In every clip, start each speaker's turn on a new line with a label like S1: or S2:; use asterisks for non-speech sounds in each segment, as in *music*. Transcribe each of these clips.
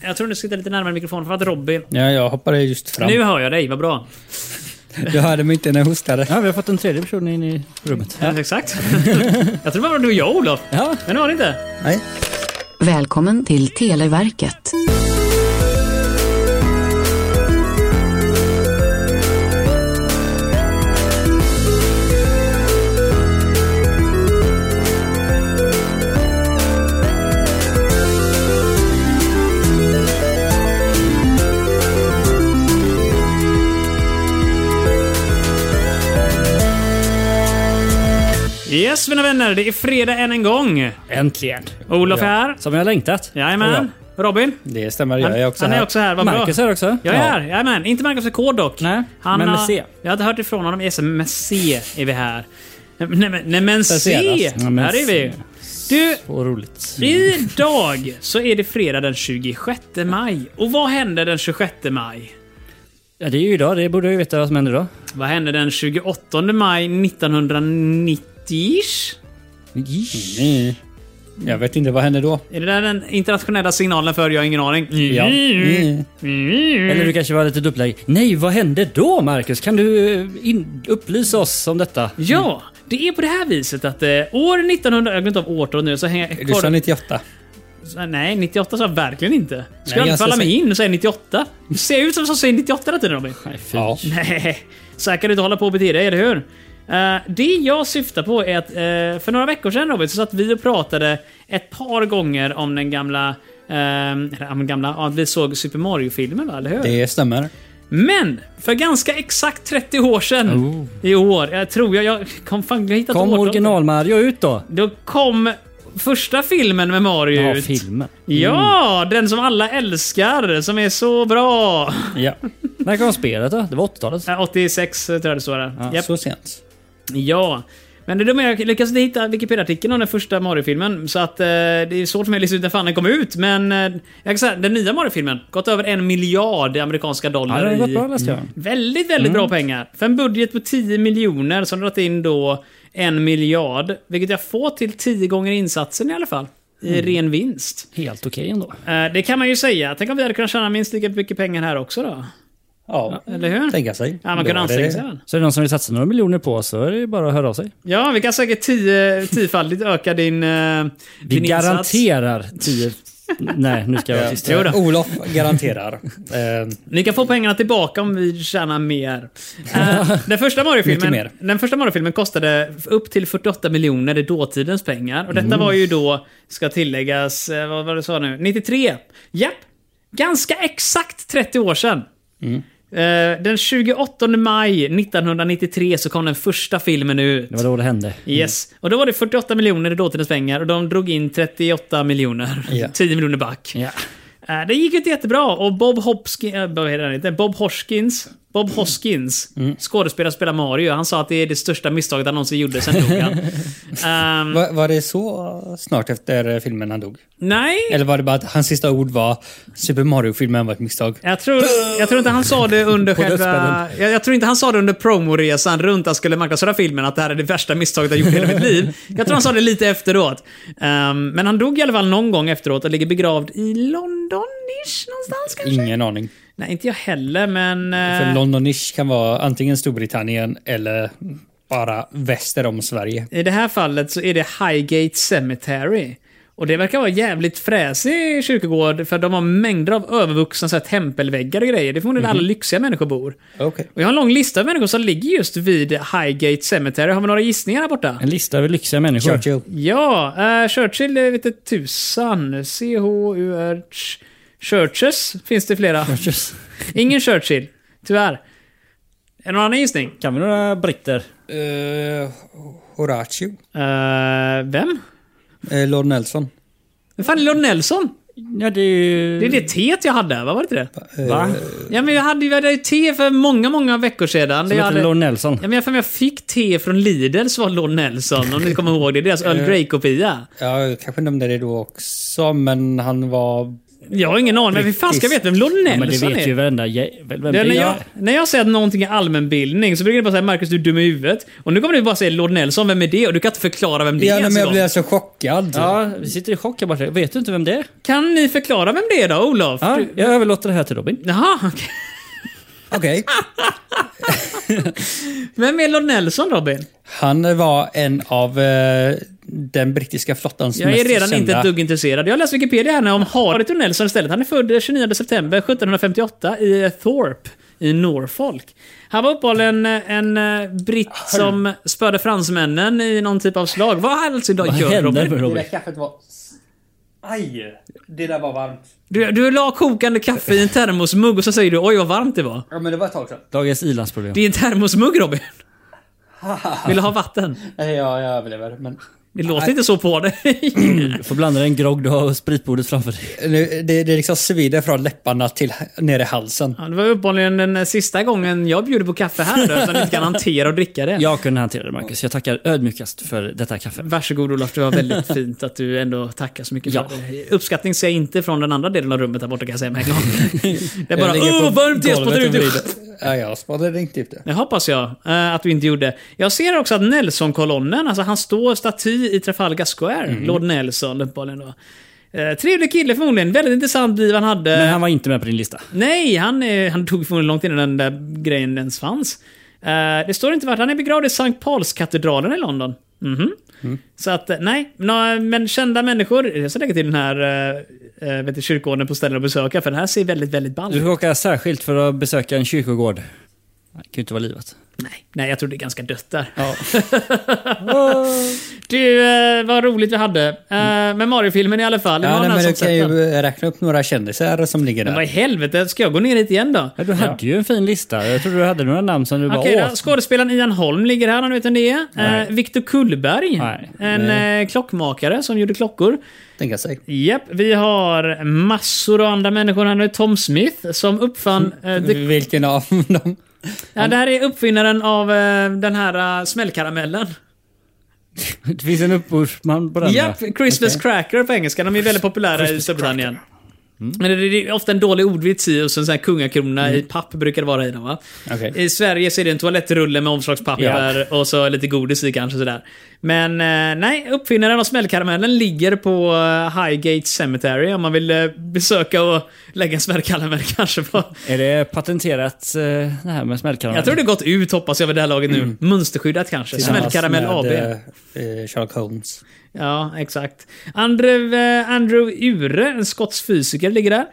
S1: Jag tror du ska sitta lite närmare mikrofonen för att Robin...
S2: Ja, jag hoppade just fram.
S1: Nu hör jag dig, vad bra.
S2: Jag hörde mig inte när jag hostade.
S3: Ja, vi har fått en tredje person in i rummet.
S1: Ja. *laughs* Exakt. jag tror bara du och jag, Olof.
S2: Ja.
S1: Men det var det inte.
S2: Nej.
S4: Välkommen till Televerket.
S1: Yes, mina vänner. Det är fredag än en gång.
S3: Äntligen.
S1: Olof är här.
S3: Som jag har längtat. Oh,
S1: Jajamän. Robin.
S2: Det stämmer, jag är också
S1: han
S2: här.
S1: är också här, vad bra.
S3: Marcus är också.
S1: Jag är här, jajamän. Inte Marcus med K dock.
S3: Nej,
S1: Han
S3: men med
S1: har-
S3: C.
S1: Jag hade hört ifrån honom. Yes, med C är vi här. Nej, men, nej, men C!
S2: Placeras.
S3: Ja, men
S1: Här är vi.
S3: C.
S1: Du,
S3: Och roligt.
S1: idag så är det fredag den 26 maj. Och vad hände den 26 maj?
S3: Ja, det är ju idag. Det borde jag ju veta vad som händer idag.
S1: Vad hände den 28 maj 1990-ish?
S2: Mm. Jag vet inte, vad händer då?
S1: Är det där den internationella signalen för? Jag har ingen aning.
S2: Ja. Mm.
S3: Eller du kanske var lite dubbellägg. Nej, vad hände då Marcus? Kan du eh, in- upplysa oss om detta?
S1: Ja, det är på det här viset att eh, år 1900... Jag har glömt av årtal nu. Så hänger,
S2: Du sa 98.
S1: Så, Nej, 98 sa jag verkligen inte. Ska
S2: Nej,
S1: jag
S2: jag
S1: falla
S2: ska
S1: mig
S2: säga-
S1: in och säga 98? Du ser ut som som säger 98 hela tiden Robin.
S2: Ja.
S1: *laughs* Nej, så här kan du inte hålla på och bete dig, eller hur? Eh, det jag syftar på är att eh, för några veckor sedan Robin, så satt vi och pratade ett par gånger om den gamla... Uh, eller, om den gamla ja, att vi såg Super Mario-filmen, va? eller hur?
S2: Det stämmer.
S1: Men! För ganska exakt 30 år sedan
S3: Oh.
S1: i år, jag tror jag... Jag kom fan... Jag har hittat
S3: Kom
S1: årtal.
S3: original-Mario ut då?
S1: Då kom första filmen med Mario
S3: Ja, Mm.
S1: ut.
S3: filmen.
S1: Ja, den som alla älskar, som är så
S3: *laughs*
S1: bra.
S3: Ja. När kom spelet då? Det var 80-talet.
S1: Äh, 86 tror jag det står där.
S3: Ja,
S1: Japp.
S2: Så sent.
S1: Ja. Men det dumma är att jag lyckas inte hitta Wikipedia-artikeln om den första Mario-filmen, så att eh, det är svårt för mig att lista ut när fan den kom ut. Men eh, jag kan säga, den nya Mario-filmen, gått över en miljard i amerikanska
S3: Ja,
S1: dollar.
S3: det har gått
S1: i-
S3: bra Mm. läste jag.
S1: Väldigt, väldigt bra pengar. För en budget på 10 miljoner så har de dragit in då en miljard, vilket jag får till 10 gånger insatsen i alla fall. I
S3: Mm.
S1: ren vinst.
S3: Helt okej ändå.
S1: Eh, Det kan man ju säga. Tänk om vi hade kunnat tjäna minst lika mycket pengar här också då?
S2: Ja.
S1: Eller hur?
S2: Tänka sig.
S1: Ja, man
S2: Då
S1: kunde
S2: är det-
S1: anstränga sig. va?
S3: Så är det någon som vill satsa några miljoner på oss så är det ju bara att höra av sig.
S1: Ja, vi kan säkert tio, tiofaldigt öka din, eh,
S3: Vi
S1: din insats.
S3: garanterar 10... Nej, nu ska jag vara tyst.
S1: Jo då.
S2: Olof garanterar. Eh,
S1: Ni kan få pengarna tillbaka om vi tjänar mer.
S3: *laughs*
S1: Eh, den första Mario-filmen
S2: Mycket
S1: Den första Mario-filmen kostade upp till 48 miljoner i dåtidens pengar. Och detta
S3: Mm.
S1: var ju då, ska tilläggas, eh, vad var det du sa nu? 93. Japp! Ganska exakt 30 år sedan.
S3: Mm.
S1: Eh, den 28 maj 1993 så kom den första filmen ut.
S3: *laughs* Det Mm. var då det hände.
S1: Yes. Och då var det 48 miljoner i dåtidens pengar och de drog in 38 miljoner. *laughs*
S2: Ja.
S1: 10 miljoner back.
S3: Ja.
S1: Eh, Det gick inte jättebra och Bob Hopkins, vad heter han inte? Bob Hoskins, Bob Hoskins,
S2: Mm.
S1: skådespelare som spelar Mario, han sa att det är det största misstaget han någonsin gjorde sen dog
S2: *laughs*
S1: han. Ehm,
S2: var, var det så snart efter eh, filmen han dog?
S1: nej,
S2: Eller var det bara att hans sista ord var Super Mario-filmen var ett misstag?
S1: jag tror, jag tror inte han sa det under
S2: På
S1: själva...
S2: dödsbädden.
S1: Jag, jag tror inte han sa det under promoresan runt att skulle marknadsföra filmen, att det här är det värsta misstaget jag gjort i hela mitt liv. Jag tror han sa det lite efteråt. Ehm, men han dog i alla fall någon gång efteråt och ligger begravd i London-ish någonstans kanske?
S2: Ingen aning.
S1: Nej, inte jag heller, men... eh,
S2: För Londonish kan vara antingen Storbritannien eller bara väster om Sverige.
S1: I det här fallet så är det Highgate Cemetery. Och det verkar vara jävligt fräsig kyrkogård för de har mängder av övervuxna så här, tempelväggar och grejer. Det är förmodligen alla lyxiga människor bor.
S2: Okej.
S1: Och jag har en lång lista av människor som ligger just vid Highgate Cemetery. Har vi några gissningar här borta?
S3: En lista över lyxiga människor.
S2: Churchill.
S1: Ja, eh, Churchill är lite tusan. C-H-U-R... Churches finns det flera.
S3: Just.
S1: Ingen Churchill, tyvärr. Är det någon annan gissning?
S3: Kan vi några britter?
S2: Uh, Horatio.
S1: Eh, vem?
S2: Eh, Lord Nelson.
S1: Vem fan är Lord Nelson?
S3: Ja, det är ju...
S1: Det är det teet jag hade, vad var det inte det?
S2: Eh,
S3: Va?
S1: Ja, men jag hade ju jag hade ju te för många, många veckor sedan.
S3: Som
S1: jag,
S3: heter
S1: hade,
S3: Lord
S1: ja,
S3: Nelson.
S1: men jag, för mig, jag fick te från Lidl som var Lord Nelson, om ni kommer ihåg det. Deras Earl Grey-kopia.
S2: Ja, jag kanske nämnde det då också, men han var...
S1: Jag har ingen aning. Men hur fan ska jag veta vem Lord
S3: Men det
S1: Nelson
S3: vet
S1: är?
S3: ju varenda jävel vem det
S1: Det, när, jag,
S3: är.
S1: när jag säger att någonting är allmänbildning så brukar det bara säga Marcus du är dum i huvudet. Och nu kommer du bara säga Lord Nelson, vem är det? Och du kan inte förklara vem det
S2: Ja,
S1: är.
S2: nej, men
S1: ens en
S2: jag
S1: gång.
S2: blir så chockad.
S3: Ja, vi sitter i chock här borta. Vet du inte vem det är?
S1: Kan ni förklara vem det är då, Olof?
S3: Ja,
S1: Du-
S3: jag överlåter det här till Robin.
S1: Jaha, okej.
S2: Okej.
S1: Vem är Lord Nelson, Robin?
S2: Han var en av eh, den brittiska flottans
S1: Jag är
S2: mest
S1: redan
S2: kända.
S1: inte ett dugg intresserad. Jag har läst Wikipedia här nu om Harriet och Nelson istället. Han är född 29 september 1758 i Thorpe i Norfolk. Han var uppehållen en eh, britt som spöade fransmännen i någon typ av slag. Vad han alltså idag
S3: Vad
S1: gör
S3: hände
S1: Robin?
S3: med Robin?
S2: kaffet var... Aj! Det där var varmt.
S1: Du, du la kokande kaffe i en termosmugg och så säger du oj vad varmt det var.
S2: Ja, men det var ett tag sedan.
S3: Dagens ilandsproblem.
S1: Det är en termosmugg
S2: *laughs*
S1: Robin. Vill du ha vatten?
S2: Nej, Eh, ja, jag överlever. Men...
S1: Det låter inte så på dig. *clears throat*
S3: Du får blanda en grogg du har och spritbordet framför dig.
S2: Nu, det, det liksom svider från läpparna till ner i halsen.
S1: Ja, det var uppenbarligen den sista gången jag bjuder på kaffe här då, eftersom du inte kan hantera och dricka det.
S3: Jag kunde hantera det Marcus. Jag tackar ödmjukast för detta kaffe.
S1: Varsågod Olof, det var
S2: *laughs*
S1: väldigt fint att du ändå tackar så mycket
S3: Ja.
S1: för det. Uppskattning ser jag inte från den andra delen av rummet där borta kan jag säga
S2: *laughs*
S1: med en gång. Det är bara
S2: Jag ligger
S1: åh
S2: på
S1: oh, varmt jag spottar ut
S2: golvet och
S1: det.
S2: vrider. Ja, jag spottade inte ut det.
S1: Det hoppas jag eh, att du inte gjorde. Jag ser också att Nelson-kolonnen, alltså han står staty i Trafalgar Square,
S2: Mm.
S1: Lord Nelson uppenbarligen då. Eh, trevlig kille förmodligen, väldigt intressant liv han hade.
S3: Men han var inte med på din lista.
S1: Nej, han, eh, han tog förmodligen långt innan den där grejen ens fanns. Eh, det står inte vart han är begravd i Sankt Paulskatedralen i London. Mhm.
S2: Mm.
S1: Så att, eh, nej. Nå, men kända människor, jag ska lägga till den här eh, eh, vet du, kyrkogården på ställen att besöka, för den här ser väldigt, väldigt ball
S3: Du
S1: ut.
S3: får åka särskilt för att besöka en kyrkogård. Det kan ju inte vara livet.
S1: Nej, nej, jag tror det är ganska dött där.
S3: Ja.
S1: *laughs* Du, eh, vad roligt vi hade. Eh, Men Mario-filmen i alla fall. Det var
S2: Mm. Ja,
S1: någon
S2: nej, men
S1: som
S2: du kan
S1: sett
S2: ju
S1: den.
S2: räkna upp några kändisar som ligger
S1: Men vad i
S2: där.
S1: helvete, ska jag gå ner dit igen då?
S3: du hade ju en fin lista. Jag trodde du hade några namn som du bara
S1: Okej,
S3: åh.
S1: då, skådespelaren Ian Holm ligger här om du vet vem det är.
S3: Nej.
S1: Eh, Viktor Kullberg.
S3: Nej.
S1: En Eh, klockmakare som gjorde klockor.
S2: Tänka sig.
S1: Japp, vi har massor av andra människor här nu. Tom Smith som uppfann...
S3: Mm.
S1: Eh, the,
S2: Vilken av dem?
S1: ja, det här är uppfinnaren av eh, den här eh, smällkaramellen.
S3: Det finns en uppbordsman på den
S1: Japp,
S3: där.
S1: Christmas cracker på engelska. De är väldigt populära i Storbritannien.
S3: Mm.
S1: Men det det är ofta en dålig ordvits i och så en sån här kungakrona i papp brukar det vara i den va?
S2: Okej.
S1: I Sverige så är det en toalettrulle med omslagspapper och så lite godis i kanske sådär. Men eh, nej, uppfinnaren av smällkaramellen ligger på eh, Highgate Cemetery om man vill eh, besöka och lägga en smällkaramell *laughs* kanske på.
S3: Är det patenterat eh, det här med smällkaramell?
S1: Jag tror det gått ut hoppas jag vid det här laget nu. Mönsterskyddat kanske. Smällkaramell AB.
S2: Mm. Tillsammans med, eh, Sherlock Holmes.
S1: Ja, exakt. Andrew, eh, Andrew Ure, en skotsk fysiker, ligger där.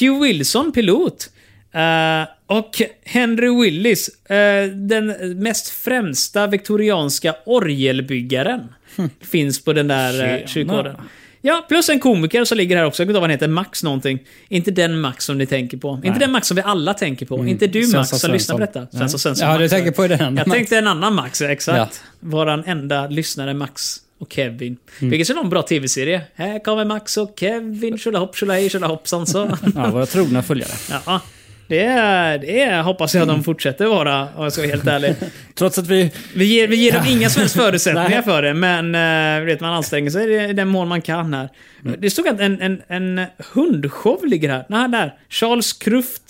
S1: Hugh Wilson, pilot. Eh, och Henry Willis, eh, den mest främsta viktorianska orgelbyggaren.
S2: Hm.
S1: Finns på den där uh,
S3: Tjena.
S1: kyrkogården. Ja, plus en komiker som ligger här också. Jag vet inte vad han heter. Max någonting. Inte den Max som ni tänker på. Inte den Max som vi alla tänker på. Inte du Max
S2: Svensson
S1: som lyssnar
S2: Mm. Svensson. Mm.
S1: på detta. Svensson Svensson.
S2: Ja,
S1: Max.
S2: du tänker på den.
S1: Jag tänkte en annan Max, ja, exakt.
S2: Ja.
S1: Våran enda lyssnare Max och Kevin.
S3: Mm.
S1: Vilket skulle vara en bra tv-serie. Här kommer Max och Kevin, tjolahopp tjolahej tjolahoppsan så.
S3: *laughs* Ja, våra trogna följare.
S1: ja. Det, är, det är, hoppas jag de fortsätter vara, om jag ska vara helt ärlig.
S3: Trots att vi...
S1: Vi ger, vi ger dem inga som helst förutsättningar
S3: Nej.
S1: för det, men eh, vet, man anstränger sig i den mån man kan här.
S3: Mm.
S1: Det stod att en, en, en hundshow ligger här. Nej, där. Charles Kruft,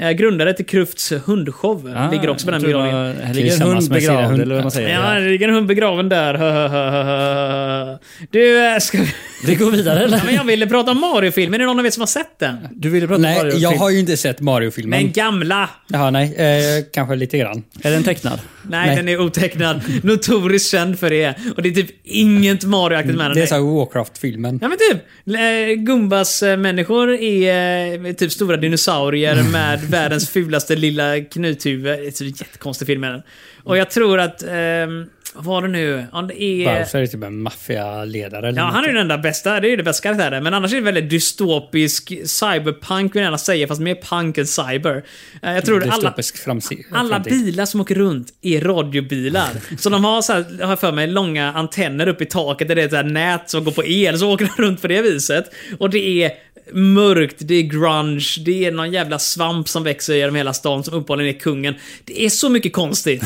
S1: eh, grundare till Krufts hundshow, ligger också på
S3: Ah, jag
S1: den
S3: tror det
S1: begravningen.
S3: var- Här ligger en
S2: Tillsammans
S3: hund
S2: med sina
S3: begravd,
S2: hundar.
S3: eller vad man säger.
S1: Ja,
S3: Ja.
S1: det ligger en hund begraven där. Du, eh, ska vi...
S3: Vi går
S1: *laughs*
S3: vidare
S1: Ja,
S3: eller?
S1: men jag ville prata om Mario-filmen. Är det någon av er som har sett den?
S3: Du ville prata om
S2: Nej, jag
S3: Mario-film.
S2: har ju inte sett Mario-filmen.
S1: Den gamla.
S2: Ja, nej, eh, kanske lite grann.
S3: Är den tecknad?
S1: Nej,
S2: Nej.
S1: den är otecknad. Notoriskt känd för det. Och det är typ inget Mario-aktigt med den.
S2: Det är så här Warcraft-filmen.
S1: Ja men typ. Eh, Gumbas-människor är eh, typ stora dinosaurier *laughs* med världens fulaste lilla knuthuvud. Det är så jättekonstig film är den. Och jag tror att... ehm, vad var det nu? Om det är...
S2: Varför är det typ en maffialedare? eller
S1: Ja, han är
S2: något?
S1: ju den enda bästa. Det är ju den bästa karaktären. Men annars är det väldigt dystopisk cyberpunk, vill jag gärna säga. Fast mer punk än cyber. Eh, Jag tror att alla,
S2: Dystopisk framsi-
S1: alla
S2: framtid.
S1: bilar som åker runt är radiobilar. Så de har, så här, har jag för mig, långa antenner uppe i taket där det är ett så här nät som går på el. Så åker de runt på det viset. Och det är mörkt, det är grunge, det är någon jävla svamp som växer genom hela stan som uppehållligen är kungen. Det är så mycket konstigt.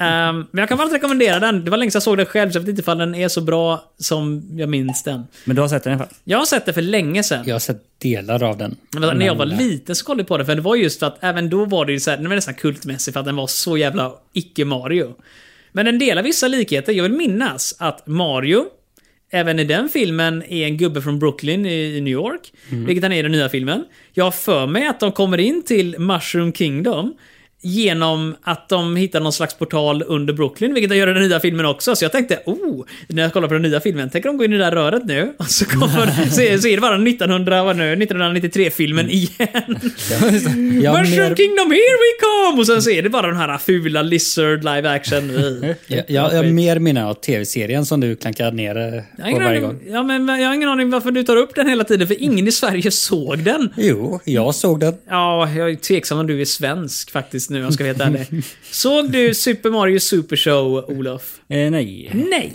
S1: Ehm, men jag kan varmt rekommendera den. Det var länge sedan jag såg den själv, så jag vet inte ifall den är så bra som jag minns den.
S3: Men du har sett den i alla fall?
S1: Jag har sett den för länge sedan.
S2: Jag har sett delar av den.
S1: Men, när jag var
S2: Men,
S1: liten så kollade jag på den, för det var just för att även då var det ju så här, den var nästan kultmässig för att den var så jävla icke-Mario. Men den delar vissa likheter. Jag vill minnas att Mario, även i den filmen, är en gubbe från Brooklyn i, i New York. Vilket han är i den nya filmen. Jag har för mig att de kommer in till Mushroom Kingdom genom att de hittar någon slags portal under Brooklyn, vilket de gör i den nya filmen också. Så jag tänkte, oh, när jag kollar på den nya filmen, tänker de gå in i det där röret nu? *laughs* Och så, kommer, så, är, så är det bara 1900, vad nu, 1993-filmen igen.
S2: Jag har
S1: Mushroom
S2: Mm. mer-
S1: Kingdom, here we come! Och sen så är det bara den här fula Lizard live
S2: *laughs*
S1: action.
S2: Jag, jag, jag mer minne av tv-serien som du klankar ner eh,
S1: Jag har,
S2: på
S1: ingen
S2: varje
S1: aning,
S2: gång.
S1: ja, men jag har ingen aning varför du tar upp den hela tiden, för ingen i Sverige såg den.
S2: Jo, jag såg den.
S1: Ja, jag är tveksam om du är svensk faktiskt nu, om jag ska veta det.
S2: *laughs*
S1: Såg du Super Mario Super Show, Olof?
S3: Eh, nej.
S1: Nej!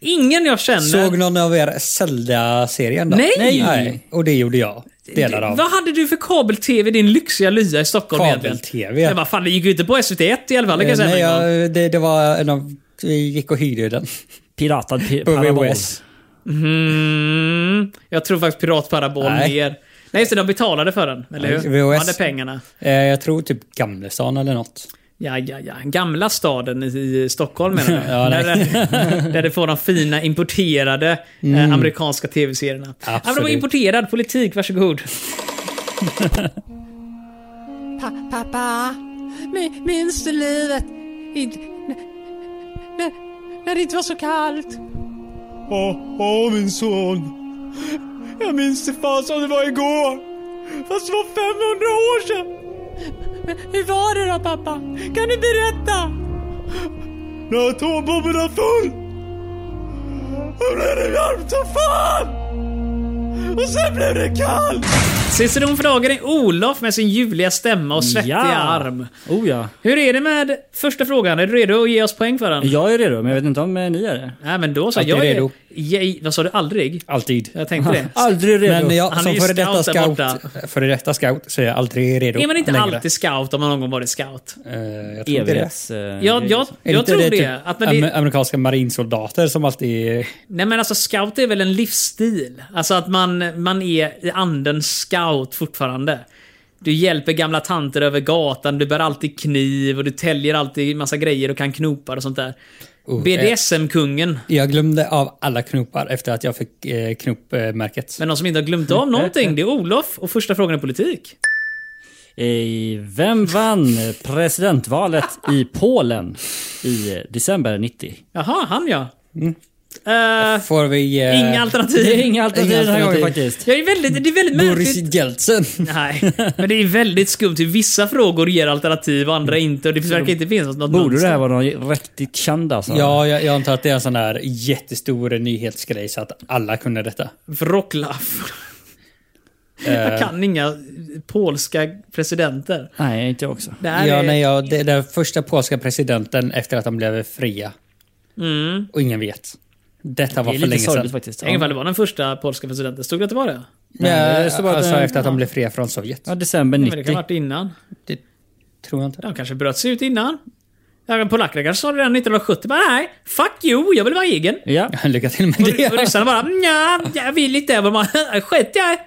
S1: Ingen jag känner...
S2: Såg någon av er Zelda-serien då?
S1: Nej!
S2: Nej! Och det gjorde jag. Delar av.
S1: Vad hade du för kabel-tv i din lyxiga lya i Stockholm egentligen?
S2: Kabel-TV.
S1: Ja, vad fan, det gick ju inte på SVT1 i alla fall, det kan jag
S2: Eh,
S1: säga
S2: Nej,
S1: med en gång.
S2: jag, det, det var en av... Vi gick och hyrde den.
S3: Piratad pi-
S2: På
S3: parabol.
S2: VHS.
S1: Mm, jag tror faktiskt Piratparabol
S2: Nej.
S1: ner. Nej, just det, de betalade för den, eller
S2: Ja,
S1: hur?
S2: VHS.
S1: De hade pengarna.
S2: Eh, Jag tror typ Gamlestan eller något.
S1: Ja, ja, ja. Gamla staden i- i Stockholm menar du?
S2: *laughs* Ja, nej.
S1: där, där du får de fina importerade eh, amerikanska tv-serierna. Ja, men det var
S2: Mm. Absolut.
S1: importerad politik, varsågod.
S5: Pa pappa, mi- minns du livet? Inte, när, när det inte var så kallt?
S6: Åh, åh min son. Jag minns det fan som det var igår. Fast det var 500 år sedan.
S5: Men hur var det då pappa? Kan du berätta?
S6: När atombomben var full. Då blev det varmt som fan. Och sen blev det kallt.
S1: Ciceron frågar är Olof med sin ljuvliga stämma och svettiga arm.
S3: Oh ja.
S1: Hur är det med första frågan? Är du redo att ge oss poäng för den?
S3: Jag är redo, men jag vet inte om eh, ni är det.
S1: Nej, men då så.
S2: Alltid
S1: Jag är
S2: redo.
S1: Jag, vad sa du? Aldrig?
S2: Alltid.
S1: Jag tänkte
S2: *laughs*
S1: det.
S3: Aldrig redo.
S2: Men
S1: Han är
S2: jag, som
S1: ju
S2: före detta
S1: scout där
S2: scout,
S1: borta.
S2: före detta scout så är jag aldrig redo
S1: Är man inte
S2: längre.
S1: alltid scout om man någon gång varit scout?
S2: Eh, jag tror inte det.
S3: Evighets... eh,
S1: Jag,
S3: grejer.
S1: jag,
S2: Är
S1: jag
S2: inte
S1: tror det.
S2: typ
S1: att man,
S2: amer- Amerikanska marinsoldater som alltid är...
S1: Nej men alltså scout är väl en livsstil? Alltså att man, man är i anden scout fortfarande. Du hjälper gamla tanter över gatan, du bär alltid kniv och du täljer alltid massa grejer och kan knopar och sånt där.
S2: Oh, eh.
S1: BDSM-kungen.
S2: Jag glömde av alla knopar efter att jag fick eh, knopmärket.
S1: Men någon som inte har
S2: *laughs* Eh,
S1: glömt av någonting, det är Olof och första frågan är politik.
S3: Eh, Vem vann presidentvalet i Polen i december 90?
S1: Jaha, han ja. Eh,
S2: Får vi... eh,
S1: inga alternativ.
S3: Mm. Det är inga alternativ den här
S2: alternativ.
S3: gången faktiskt.
S1: Jag är väldigt, det är väldigt
S2: Boris
S1: märkligt.
S2: Jeltsin.
S1: Nej, men det är väldigt skumt hur vissa frågor ger alternativ och andra inte. Och det verkar inte finnas något
S3: Mm. Borde det
S1: mönster.
S3: här vara någon riktigt känd alltså?
S2: Ja, jag, jag antar att det är en sån där jättestor nyhetsgrej så att alla kunde detta. Eh,
S1: Wroclaw. *laughs*
S3: Eh.
S1: Jag kan inga polska presidenter.
S3: Nej, inte jag också.
S1: Det här
S2: ja,
S1: är...
S2: nej, ja, det, den första polska presidenten efter att de blev fria.
S1: Mm.
S2: Och ingen vet. Detta var
S3: Det är
S2: för
S3: lite
S2: länge
S3: sorgligt
S2: sedan.
S3: faktiskt.
S1: Jag vet inte om det var den första polska presidenten. Stod det att det var det?
S2: Ja,
S3: det står bara att
S2: alltså
S3: den-
S2: efter att de blev fria från Sovjet.
S3: Ja, december
S1: Men det kan
S3: 90.
S1: ha varit innan.
S2: Det tror jag inte.
S1: De kanske bröt sig ut innan. Ja, men Polackerna kanske sa det redan 1970. Bara, nej, fuck you, jag vill vara egen.
S3: Ja.
S2: *laughs* Lycka till med
S1: Och, och
S2: det.
S1: ryssarna bara, nja, jag vill inte. Och man *laughs* bara, Skit jag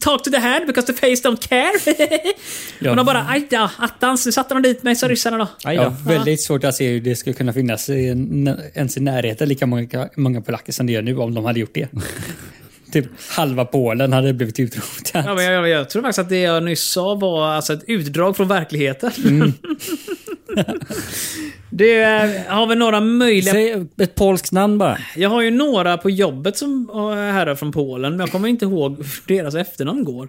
S1: Talk to the hand because the face don't care. Och de bara, aj ja, Mm. attans, nu satte de dit mig, sa ryssarna då.
S3: Aj
S2: Jag
S3: då.
S2: har väldigt svårt att se hur det skulle kunna finnas i en- ens i närheten lika många, många polacker som det gör nu om de hade gjort det. typ halva Polen hade blivit utrotat.
S1: Ja, men jag, jag, jag tror faktiskt att det jag nyss sa var alltså ett utdrag från verkligheten. *laughs* det är, eh, har vi några möjliga...
S3: Säg ett polskt namn bara.
S1: Jag har ju några på jobbet som är här från Polen, men jag kommer inte ihåg hur deras efternamn går.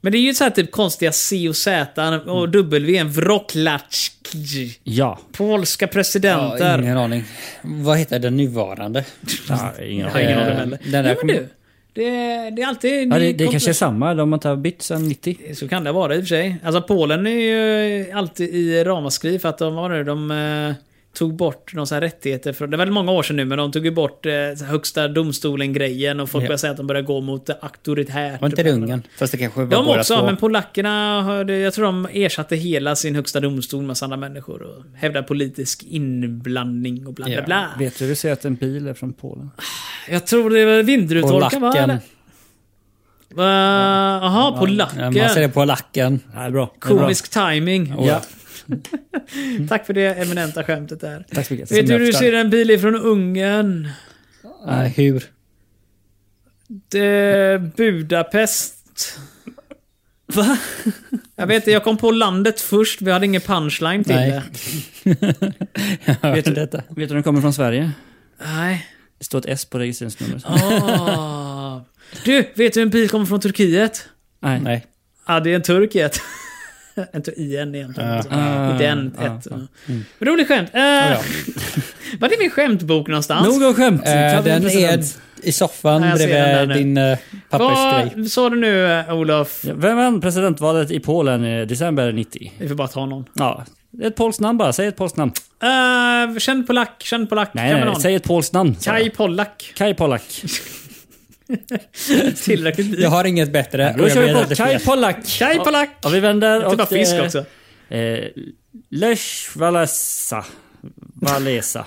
S1: Men det är ju så här typ konstiga C och Z och W, Wroclawski.
S3: Ja.
S1: Polska
S2: Ja,
S1: presidenter.
S2: ingen aning. Vad heter den nuvarande?
S3: ja ingen
S1: jag har ingen
S2: Eh,
S1: aning heller.
S2: den
S1: Nej,
S2: där
S1: men
S2: kommer-
S1: du. Det, det är alltid...
S3: Ja,
S1: ny
S3: det, det
S1: kompl-
S3: kanske är samma, de har inte bytt sedan 90.
S1: Så kan det vara i och för sig. Alltså Polen är ju alltid i ramaskri för att de, vad var det, de eh, tog bort någon sån här rättigheter från, det var många år sedan nu, men de tog ju bort eh, så här högsta domstolen-grejen och folk
S2: Ja.
S1: började säga att de började gå mot eh, auktoritärt.
S2: Var inte det Ungern? Fast det kanske var
S1: De
S2: båda
S1: också,
S2: två.
S1: men polackerna, hörde, jag tror de ersatte hela sin högsta domstol med andra människor och hävdade politisk inblandning och bla bla
S2: Ja,
S1: bla.
S3: Vet du hur det ser ut en bil är från Polen?
S1: Jag tror det var vindrutetorka va?
S2: Polacken.
S1: eller? Va? Jaha,
S2: Ja, man
S1: polacker.
S2: säger polacken.
S3: Nej, bra. Det är bra.
S1: Komisk timing.
S2: Ja.
S1: *laughs* Tack för det eminenta skämtet där.
S3: Tack så mycket.
S1: Vet du hur du
S2: Semester.
S1: ser en bil ifrån Ungern?
S2: Nej, *laughs* hur?
S1: Det, Budapest. Va? Jag vet inte, jag kom på landet först. Vi hade ingen punchline till
S2: Nej.
S1: det.
S2: Vet
S3: du-
S2: du detta?
S3: Vet du hur den kommer från Sverige?
S1: Nej.
S3: Det står ett S på registreringsnumret.
S1: Ah. Du, vet du hur en bil kommer från Turkiet?
S3: Nej.
S2: Nej.
S1: Ja, det är en turkiet. *laughs* en tur- IN egentligen.
S2: Ja.
S1: Alltså. Den, ett. Roligt skämt. Eh,
S2: ja.
S1: *laughs* Var det min skämtbok någonstans?
S3: Nog om skämt.
S2: Eh, den är i soffan
S1: Ja, jag ser den där
S2: bredvid
S1: nu.
S2: din eh, pappersgrej.
S1: Vad sa du nu, eh, Olof?
S3: Ja, Vem vann presidentvalet i Polen i december 90?
S1: Vi får bara ta någon.
S3: Ja, ett polskt namn bara. Säg ett polskt namn.
S1: Uh, känd polack, känd polack.
S3: Nej,
S1: Kan
S3: nej,
S1: man
S3: nej.
S1: någon?
S3: Säg ett polskt namn. sa
S1: Kaj
S3: jag. *laughs*
S1: Pollack.
S3: Kaj Pollak.
S1: Tillräckligt
S2: Jag
S1: likt.
S2: har inget bättre. och
S3: Då
S2: jag
S3: kör vi
S2: vet att
S3: på
S2: det är
S3: Kaj
S2: fel.
S3: Pollak.
S1: Kaj Pollack.
S3: Och vi vänder.
S1: Typ av
S3: och,
S1: fisk
S3: eh,
S1: också.
S3: Eh, Lech Walesa. Walesa.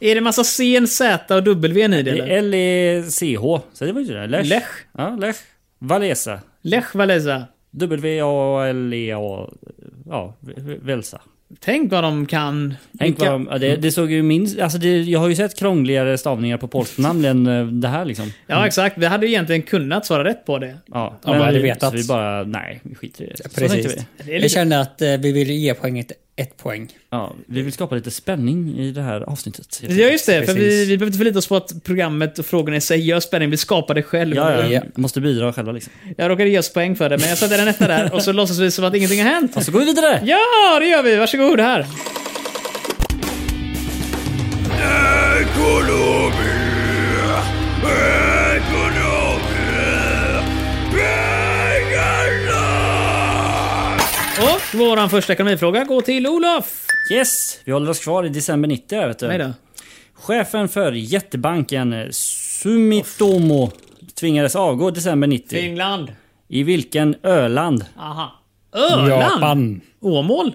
S1: Är det massa C, en Z och W i det?
S3: Det
S1: eller?
S3: är L-E-C-H. Så det var ju det. där. Lech.
S1: Lech.
S3: Ja, Lech. Walesa.
S1: Lech Walesa.
S3: W-A-L-E-A. E Ja, Velsa.
S1: Tänk vad de kan.
S3: Tänk vad de, ja,
S1: Mm.
S3: det, det såg ju minst... Alltså det, jag har ju sett krångligare stavningar på polskt namn än eh, det här liksom.
S1: Ja, exakt. Vi hade ju egentligen kunnat svara rätt på det.
S3: Ja,
S2: Om vi hade
S3: vi-
S2: vetat.
S3: så Vi bara, nej, vi skiter i det. Så tänkte
S2: Precis.
S3: vi.
S1: Det är lite-
S2: Jag känner att eh, vi vill ge poänget ett poäng.
S3: Ja, vi vill skapa lite spänning i det här avsnittet.
S1: Ja, just det. För vi,
S2: Precis.
S1: vi behöver inte förlita oss på att programmet och frågorna i sig gör spänning. Vi skapar det själv.
S3: Ja, ja,
S2: Ja.
S3: Måste bidra själva liksom.
S1: Jag råkade ge oss poäng för det, men jag satte den etta där och så låtsas vi som att ingenting har hänt.
S3: Och så går vi vidare!
S1: Ja, det gör vi. Varsågod här.
S6: Ekonomi! Ekonomi! Pengarna!
S1: Och våran första ekonomifråga går till Olof.
S3: Yes! Vi håller oss kvar i december 90 här, vet
S1: Nej
S3: du.
S1: då.
S3: Chefen för jättebanken eh, Sumitomo tvingades avgå i december 90.
S1: Finland.
S3: I vilken Öland?
S1: Aha. Öland?
S2: Japan.
S1: Åmål?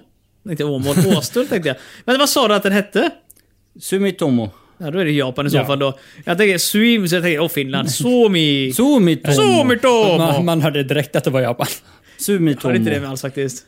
S1: Inte Åmål, Åstol tänkte jag. Men vad sa du att den hette?
S3: Sumitomo.
S1: Ja, då är det Japan i så
S2: Ja.
S1: fall då. Jag tänker Swim, så jag tänker åh Finland. Suomi.
S3: Sumitomo.
S2: Man,
S1: Suomitomo.
S2: man hörde direkt att det var Japan.
S1: Jag
S3: Sumitomo.
S1: hörde inte det med alls faktiskt.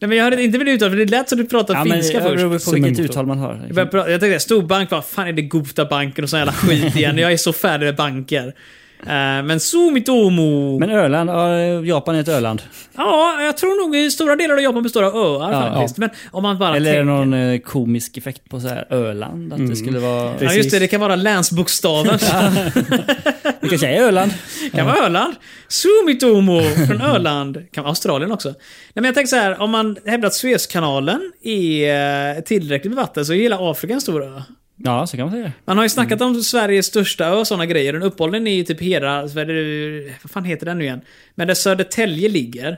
S1: Nej, men jag hörde inte med det uttalet, för det lät som du pratade
S3: Ja, men
S1: finska
S3: det
S1: först.
S3: beror på vilket
S2: Sumitomo.
S3: uttal man liksom. har.
S1: Jag, började prata, jag tänkte storbank, vad fan är det Gota-banken och sån jävla
S3: *laughs*
S1: skit igen. Jag är så färdig med banker. Eh, men Sumitomo.
S3: Men Öland, ja, Japan är ett Öland.
S1: ja, jag tror nog i stora delar av Japan består av öar
S3: Ja,
S1: faktiskt. Men om man bara
S3: Eller är det
S1: tänker... Mm.
S3: någon eh, komisk effekt på så här Öland? Att det skulle vara...
S1: Ja, just det, det kan vara
S3: *laughs*
S1: länsbokstaven. *laughs*
S3: Vi kan säga Öland.
S1: Det kan vara Öland. Sumitomo från Öland. Det kan vara Australien också. Nej, men jag tänker så här, om man hävdar att Suezkanalen är eh, tillräckligt med vatten så är hela Afrika en stor ö.
S3: Ja, så kan man säga.
S1: Man har ju snackat
S3: Mm.
S1: om Sveriges största ö och sådana grejer. Den uppehållen är ju typ hela... Vad är det- vad fan heter den nu igen? Men där Södertälje ligger.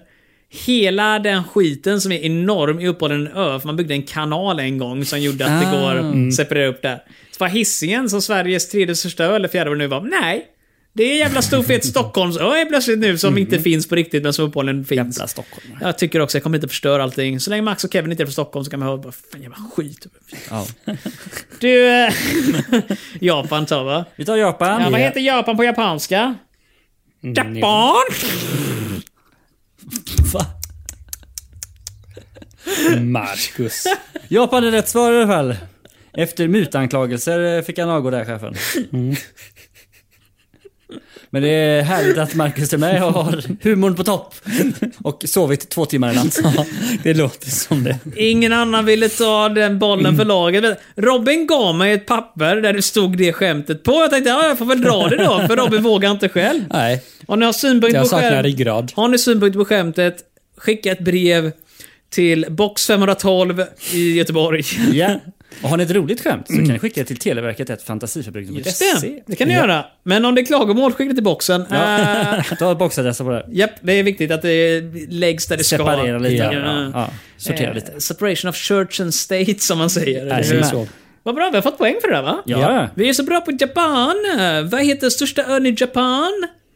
S1: Hela den skiten som är enorm är uppehållen en ö, för man byggde en kanal en gång som gjorde att det
S3: Ah.
S1: går att separera upp där. Så var Hisingen som Sveriges tredje största ö, eller fjärde vad det nu var, nej. Det är en jävla stor
S3: *laughs*
S1: fet Stockholmsö är plötsligt nu som inte finns på riktigt men som uppehållen finns.
S3: Mm. Jävla stockholmare.
S1: Jag tycker också, jag kommer inte förstöra allting. Så länge Max och Kevin inte är från Stockholm så kan man höra bara, fan jävla skit.
S3: Ja.
S1: Du, eh, *laughs* Japan tar va?
S3: Vi tar Japan.
S1: Ja, vad heter Japan på japanska?
S2: Mm,
S1: Japan!
S3: Va?
S2: Marcus.
S3: Japan är rätt svar i alla fall. Efter mutanklagelser eh, fick han avgå där, chefen.
S1: Mm.
S3: Men det är härligt att Marcus är med och har humorn på topp. Och sovit två timmar
S1: *laughs*
S3: i natt.
S2: det låter som det.
S1: Ingen annan ville ta den bollen för laget. Robin gav mig ett papper där det stod det skämtet på. Jag tänkte, ja, jag får väl dra det då, för Robin vågar inte själv.
S2: Nej,
S1: Om ni har synpunkter
S2: jag
S1: på
S2: saknar
S1: skämt,
S2: ryggrad.
S1: har ni synpunkter på skämtet, skicka ett brev till box 512 i Göteborg.
S3: Ja. *laughs* Mm. Och har ni ett roligt skämt så kan ni skicka det till Televerket ett fantasiförbrukning.se.
S1: Just det, det kan ni göra. Men om det är klagomål, skicka det till boxen. Eh,
S3: *laughs* Ta boxadressen på det. här.
S1: Japp, det är viktigt att det läggs där det ska.
S3: Separera lite.
S1: Ja.
S3: Ja. Ja. Sortera
S1: Eh,
S3: lite.
S1: Separation of church and state, som man säger.
S2: Nej,
S1: Eller hur?
S2: så.
S1: Vad bra, vi har fått poäng för det där, va?
S3: Ja.
S1: Vi är så bra på Japan. Vad heter största ön i Japan?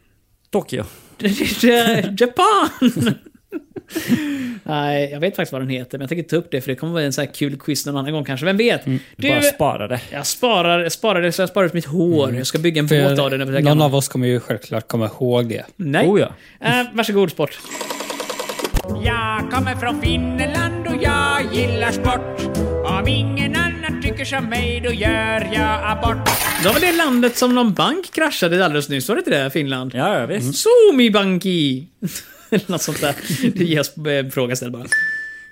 S1: *laughs*
S3: Tokyo.
S1: Japan! Nej, jag vet faktiskt vad den heter, men jag tänker ta upp det för det kommer vara en så här kul quiz någon annan gång kanske. Vem vet? Du,
S3: Mm, Bara Mm. spara det.
S1: jag sparar, jag sparar det så jag sparar ut mitt hår. Jag ska bygga en
S2: För
S1: båt av det när jag blir
S2: någon
S1: gammal.
S2: av oss kommer ju självklart komma ihåg det.
S1: Nej.
S3: Oh, ja.
S1: Eh, varsågod sport.
S7: Jag kommer från Finland och jag gillar sport. Om ingen annan tycker som mig då gör jag abort.
S1: Det var det landet som någon bank kraschade alldeles nyss, var det inte det? Finland?
S3: Ja, ja, visst.
S1: Suomi Banki! Eller *laughs* något sånt där. Det ges eh, fråga ställ bara.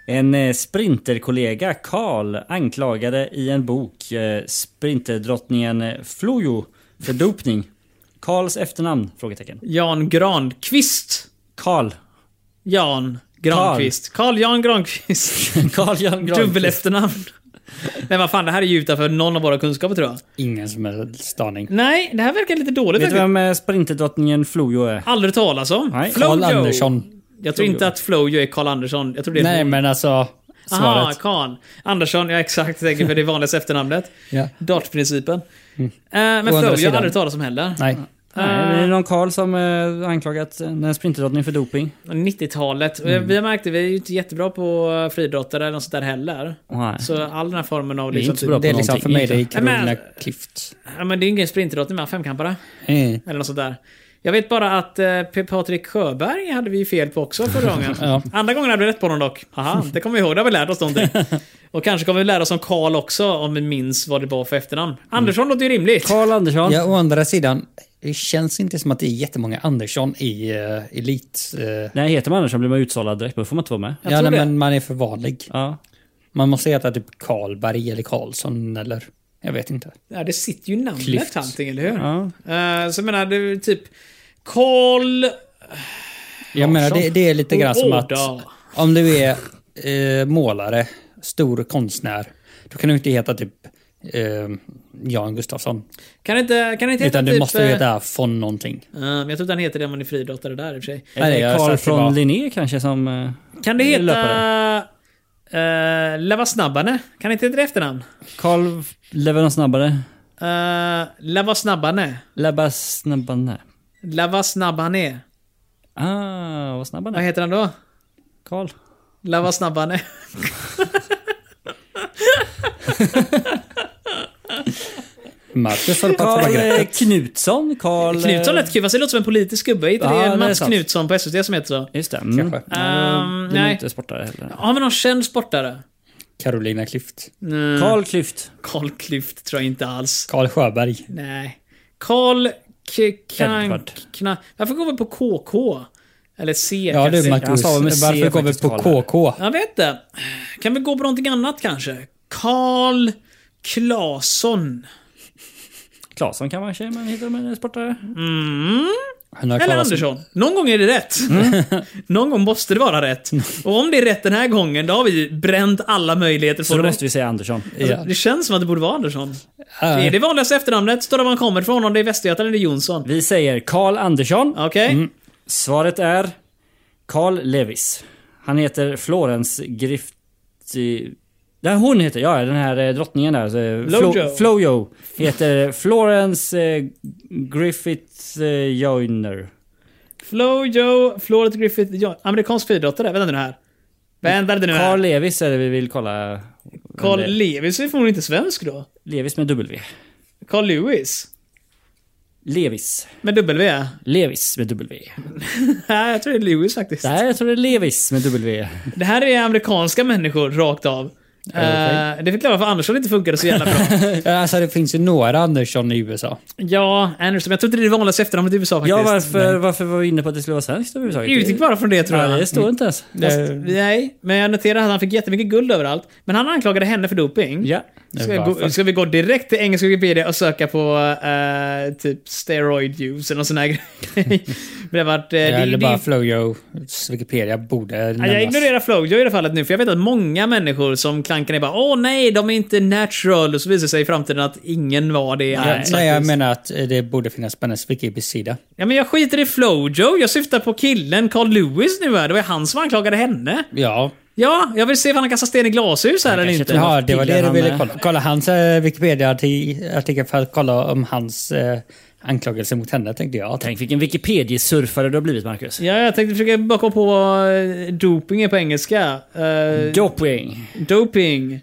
S3: En eh, sprinterkollega, Karl, anklagade i en bok eh, sprinterdrottningen eh, Flojo för dopning. Karls efternamn? Frågetecken.
S1: Jan Granqvist.
S3: Karl. *laughs*
S1: Jan Granqvist. Carl Jan
S2: *laughs*
S1: Granqvist.
S3: Karl Jan
S1: Dubbel
S3: Granqvist.
S1: efternamn. Men vad fan, det här är ju utanför någon av våra kunskaper tror jag.
S2: Ingen som helst aning.
S1: Nej, det här verkar lite dåligt.
S3: Vet du
S1: verkar-
S3: vem eh, sprinterdrottningen Flojo eh. är?
S1: Aldrig talas om.
S3: Nej,
S1: Flojo.
S2: Karl Andersson.
S1: Jag tror inte att Flojo är Carl Andersson. Jag tror det är
S2: Nej, men alltså
S1: Aha,
S2: svaret.
S1: Karl. Andersson, ja exakt. Tänker för det vanligaste
S2: *laughs*
S1: efternamnet.
S2: Ja.
S1: Dartprincipen. Eh,
S2: Mm. Å
S1: men
S2: andra
S1: Flojo har jag
S2: sidan.
S1: aldrig talas om heller.
S2: Nej.
S3: Nej, det är någon Karl som eh, anklagat en sprinterdrottning för doping.
S1: 90-talet. Och
S3: Mm.
S1: Vi har märkt det, vi är ju inte jättebra på friidrottare eller något sånt där heller.
S3: Nej.
S1: Så all den här formen av...
S3: Vi är
S1: Liksom,
S3: inte så bra
S1: typ-
S2: Det är liksom för
S3: någonting,
S2: mig det är
S3: inte.
S1: Nej,
S2: Carolina
S1: men-
S2: Klüft.
S1: ja, men det är ingen sprintidrottning med femkampare.
S2: Mm.
S1: Eller något sånt där. Jag vet bara att eh, P- Patrik Sjöberg hade vi ju fel på också förra
S3: *laughs*
S1: gången.
S2: Ja.
S1: Andra gången hade vi rätt på honom dock. Haha, det kommer vi ihåg, det har vi lärt oss någonting. Och kanske kommer vi lära oss om Karl också, om vi minns vad det var för efternamn.
S3: Mm.
S1: Andersson låter ju rimligt.
S3: Karl Andersson.
S2: Ja, å andra sidan, det känns inte som att det är jättemånga Andersson i uh, Elit. eh,
S3: Nej, heter man Andersson blir man utsållad direkt. Då får man inte vara med.
S2: ja,
S1: tror
S2: nej,
S1: det.
S2: men man är för vanlig.
S3: Ja.
S2: Man måste heta typ Karlberg eller Karlsson eller... Jag vet inte.
S1: Ja, det sitter ju namnet
S2: Klyft.
S1: allting, eller hur?
S3: Ja.
S1: Eh, så jag menar, det är ju typ Karl...
S2: Jag menar, det, det är lite grann som
S1: Åh,
S2: att
S1: då.
S2: om du är eh, målare, stor konstnär, då kan du inte heta typ eh, Jan Gustafsson.
S1: Kan det inte, kan det inte heta
S2: Utan du
S1: typ,
S2: måste ju
S1: eh,
S2: heta von någonting.
S1: Eh, men jag tror inte han heter det om man är friidrottare där i och för sig.
S2: Nej, jag
S3: Eller Karl
S2: satt ju bara-
S3: från Linné kanske som... eh,
S1: Kan det heta...
S3: Löpare.
S1: Uh, Leva snabbane? Kan det inte heta det efternamn?
S3: Karl lever någon snabbare.
S1: Uh, Leva snabbane?
S3: Lebba snabbare.
S1: Leva snabbane?
S3: Ah, vad snabb han
S1: Vad
S3: är.
S1: heter han då?
S3: Karl.
S1: Leva snabbane?
S2: Marcus håller på att
S3: Karl
S2: tappa
S3: eh,
S2: greppet.
S3: Knutsson. Karl... eh,
S1: Knutsson lät kul, fast det låter som en politisk gubbe. Är inte
S3: Ja,
S1: det
S3: det är
S1: Mats
S3: sant.
S1: Knutsson på SVT som heter så?
S3: Just det. Mm.
S2: Kanske. Mm.
S1: Ehm,
S3: nej.
S1: nej.
S3: inte sportare heller.
S1: Har vi någon känd sportare?
S2: Carolina Klüft.
S3: Karl Klyft.
S1: Carl Klyft tror jag inte alls.
S2: Karl Sjöberg.
S1: Nej. Carl... K-
S3: Edward.
S1: Kank... Kna- Varför går vi på KK? Eller C
S2: Ja
S1: kanske.
S2: du
S3: han
S2: Marcus,
S3: sa väl med C
S2: varför går vi
S3: faktiskt,
S2: på
S3: Karl där.
S2: KK?
S1: Jag vet inte. Kan vi gå på någonting annat kanske? Karl Claesson.
S3: Claesson kan man kanske man hittar med en sportare. Mm.
S2: Han har
S1: Eller
S2: talat om-
S1: Andersson. Någon gång är det rätt. *laughs* Någon gång måste det vara rätt.
S3: Mm.
S1: Och om det är rätt den här gången, då har vi bränt alla möjligheter
S3: Så
S1: på
S3: då
S1: det.
S3: måste vi säga Andersson.
S1: Alltså, Det känns som att det borde vara Andersson.
S2: Ja.
S1: Det är det vanligaste efternamnet, står där man kommer ifrån. Om det är Västergötland eller Jonsson.
S3: Vi säger Karl Andersson. Mm.
S1: Okej?
S3: Svaret är Karl Levis. Han heter Florence Grifti... Nej, hon heter, ja den här eh, drottningen där. eh,
S1: Flojo.
S3: Flo, Flojo. Heter Florence eh, Griffith eh, Joyner.
S1: Flojo, Florence Griffith, ja, amerikansk friidrottare. Vänta nu här. Vänta lite nu
S3: Karl
S1: här.
S3: Levis är det vi vill kolla. om
S1: Carl
S3: det-
S1: Lewis är förmodligen inte svensk då.
S3: Levis med W.
S1: Carl Lewis.
S3: Levis.
S1: Med W.
S3: Levis med W.
S1: Nej, jag tror det är Lewis faktiskt.
S3: Nej, jag tror det är Levis med W.
S1: Det här är amerikanska människor rakt av.
S2: Okej.
S1: Eh, det förklarar varför Andersson inte funkade så jävla
S3: *laughs*
S1: bra.
S2: *laughs* Alltså det finns ju några Andersson i USA.
S1: ja, Andersson. men Jag tror inte det är det vanligaste efternamnet i USA faktiskt.
S3: Ja, varför, varför var vi inne på att det skulle vara svenskt överhuvudtaget?
S1: Jag utgick bara från det tror
S3: Ja,
S1: jag. Mm.
S3: det står inte ens.
S1: Fast, nej, men jag noterade att han fick jättemycket guld överallt. Men han anklagade henne för doping.
S3: Ja.
S1: Ska, vi gå, ska vi gå direkt till engelska Wikipedia och söka på eh, typ steroid use eller någon sån här *laughs* grej? Men det har varit... eh, det-
S2: Eller
S1: det-
S2: bara Flowjos Wikipedia borde
S1: Ja, jag
S2: nämnas.
S1: ignorerar Flojo i det fallet nu, för jag vet att många människor som klankar ner bara Åh nej, de är inte natural, och så visar det sig i framtiden att ingen var det
S2: Nej,
S1: alls.
S2: nej, jag menar att det borde finnas på hennes Wikipedia-sida.
S1: Ja, men jag skiter i Flojo, jag syftar på killen Carl Lewis nu här. Det var ju han som anklagade henne.
S2: Ja,
S1: Ja, jag vill se om han kastar sten i glashus här eller
S3: kanske
S1: inte.
S3: tar-
S2: Jaha, det var det
S3: Killen
S2: du
S3: han
S2: ville
S3: är.
S2: kolla. Kolla hans eh, Wikipedia-artikel för att kolla om hans eh, anklagelse mot henne tänkte jag.
S3: Tänk vilken Wikipedia-surfare du har blivit Marcus.
S1: Ja, jag tänkte försöka bara komma på vad eh, doping är på engelska. Eh,
S3: Doping.
S1: Doping.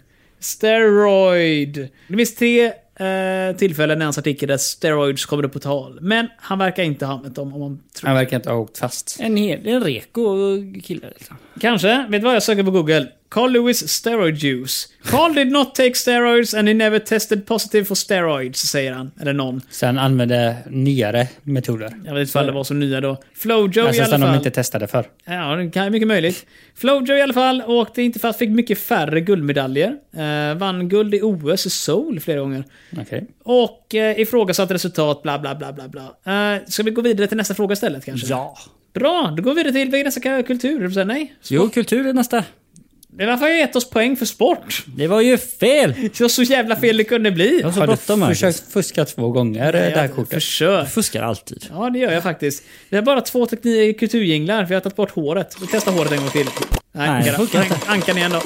S1: Steroid. Det finns tre eh, tillfällen i hans artikel där steroids kommer upp på tal. Men han verkar inte ha använt dem om man tror.
S2: Han verkar inte ha åkt fast.
S3: En, hel, en reko kille. Liksom.
S1: Kanske. Vet du vad jag söker på Google? Carl Lewis steroid use. Carl did not take steroids and he never tested positive for steroids, säger han. Eller någon.
S2: Sen använde nyare metoder.
S1: Jag vet inte ifall det var så nya då. Flojo i
S2: alltså
S1: alla
S2: som de
S1: fall.
S2: inte testade för.
S1: Ja, det kan mycket möjligt. Flojo i alla fall åkte inte fast, fick mycket färre guldmedaljer. Eh, vann guld i OS i Seoul flera gånger.
S2: Okej.
S1: Och eh, ifrågasatt resultat, bla bla bla bla bla. Eh, ska vi gå vidare till nästa fråga istället kanske?
S3: Ja.
S1: Bra, då går vi vidare till vad är nästa kultur. Du säger nej.
S3: Jo, kultur är nästa.
S1: Det var för att jag gett oss poäng för sport.
S3: Det var ju fel!
S1: Det var så jävla fel det kunde bli.
S3: Jag har så
S2: Har du
S3: bråttom Marcus.
S2: försökt fuska två gånger eh, det här
S1: Jag
S2: kortet?
S1: försök.
S3: Jag fuskar alltid.
S1: Ja, det gör jag faktiskt. Vi har bara två tekni- kulturjinglar, för jag har tagit bort håret. Vi testar håret en gång till. Nej,
S3: Nej,
S1: Nej
S3: det funkar
S1: ankan,
S3: inte.
S1: ankan igen då.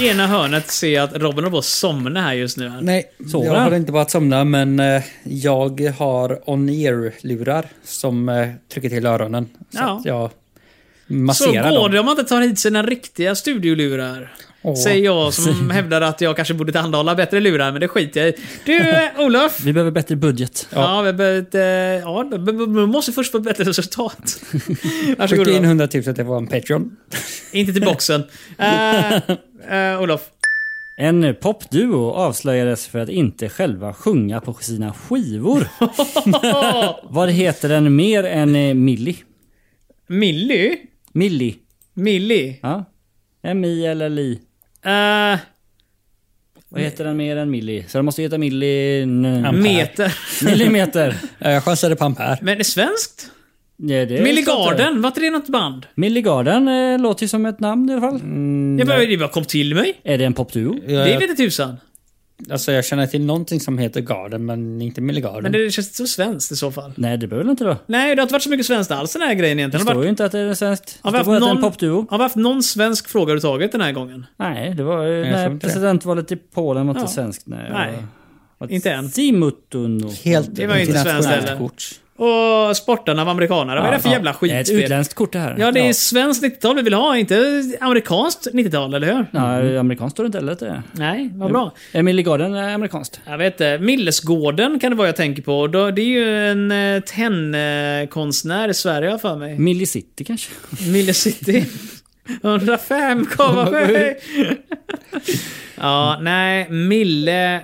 S1: I ena hörnet ser jag att Robin håller på att somna här just nu. här.
S2: Nej,
S3: Sover
S2: jag
S3: han?
S2: har inte bara att somna men eh, jag har on-ear-lurar som eh, trycker till öronen. Så
S1: Ja.
S2: att jag
S1: Så
S2: masserar
S1: går
S2: dem.
S1: det om man inte tar hit sina riktiga studiolurar.
S2: Åh.
S1: Säger jag som hävdar att jag kanske borde tillhandahålla bättre lurar, men det skiter jag i. Du, eh, Olof!
S3: Vi behöver bättre budget.
S1: Ja, vi behöver, eh, ja, vi behöver- vi måste först få ett bättre resultat. Varsågod
S2: Skicka in
S1: Olof.
S2: 100 000 till vår Patreon.
S1: Inte till boxen. Uh, Olof.
S3: En popduo avslöjades för att inte själva sjunga på sina *laughs* skivor. Vad heter den mer än eh, Milli?
S1: Millie?
S3: Milli?
S1: Millie?
S3: Ja. M-I eller Li?
S1: Eh,
S3: Vad heter den mer än Milli? Så den måste heta Milli... n-
S1: meter.
S3: *laughs* Millimeter.
S2: Eh, Jag chansade på Ampere.
S1: Men är det svenskt?
S3: Ja, det är klart det är.
S1: Milligarden? Var inte det något band?
S3: Milligarden eh, låter ju som ett namn i alla fall.
S1: Jag bara, det bara kom till mig.
S3: Är det en popduo?
S1: Det vet inte tusan.
S2: Alltså jag känner till någonting som heter Garden men inte Milligarden.
S1: Men det känns inte så svenskt i så fall.
S3: Nej, det behöver väl inte då.
S1: Nej, det har inte varit så mycket svenskt alls den här grejen
S3: Det
S1: egentligen.
S3: står
S1: har
S3: ju
S1: varit,
S3: inte att det är svenskt.
S1: har
S3: Det
S1: vi
S3: står
S1: haft
S3: bara att det är en
S1: någon,
S3: popduo.
S1: har vi haft någon svensk fråga överhuvudtaget den här gången?
S3: Nej, det var
S2: jag tror
S3: nej,
S2: inte det.
S3: presidentvalet i Polen var inte
S1: Ja.
S3: svenskt. Nej,
S1: Nej,
S3: Vad-
S1: inte än.
S3: Simutuno.
S2: Helt
S1: Det var ju inte
S2: internationellt
S1: svenskt heller.
S2: kort.
S1: Och sportarna av amerikanare. Vad är det för jävla
S3: Det är ett
S1: skitspel?
S3: utländskt kort det här.
S1: Ja, det är svenskt 90-tal vi vill ha, inte amerikanskt 90-tal, eller hur?
S3: Ja, amerikanskt står det inte heller att det är.
S1: Nej, vad bra.
S3: Emily Garden är amerikanskt.
S1: Jag vet inte. Millesgården kan det vara jag tänker på. Då- Det är ju en eh, tennkonstnär i Sverige har jag för
S3: *laughs*
S1: mig.
S3: Millie City kanske?
S2: Mm.
S1: Mille City. 105,7!
S3: *laughs*
S1: ja, nej. Mille...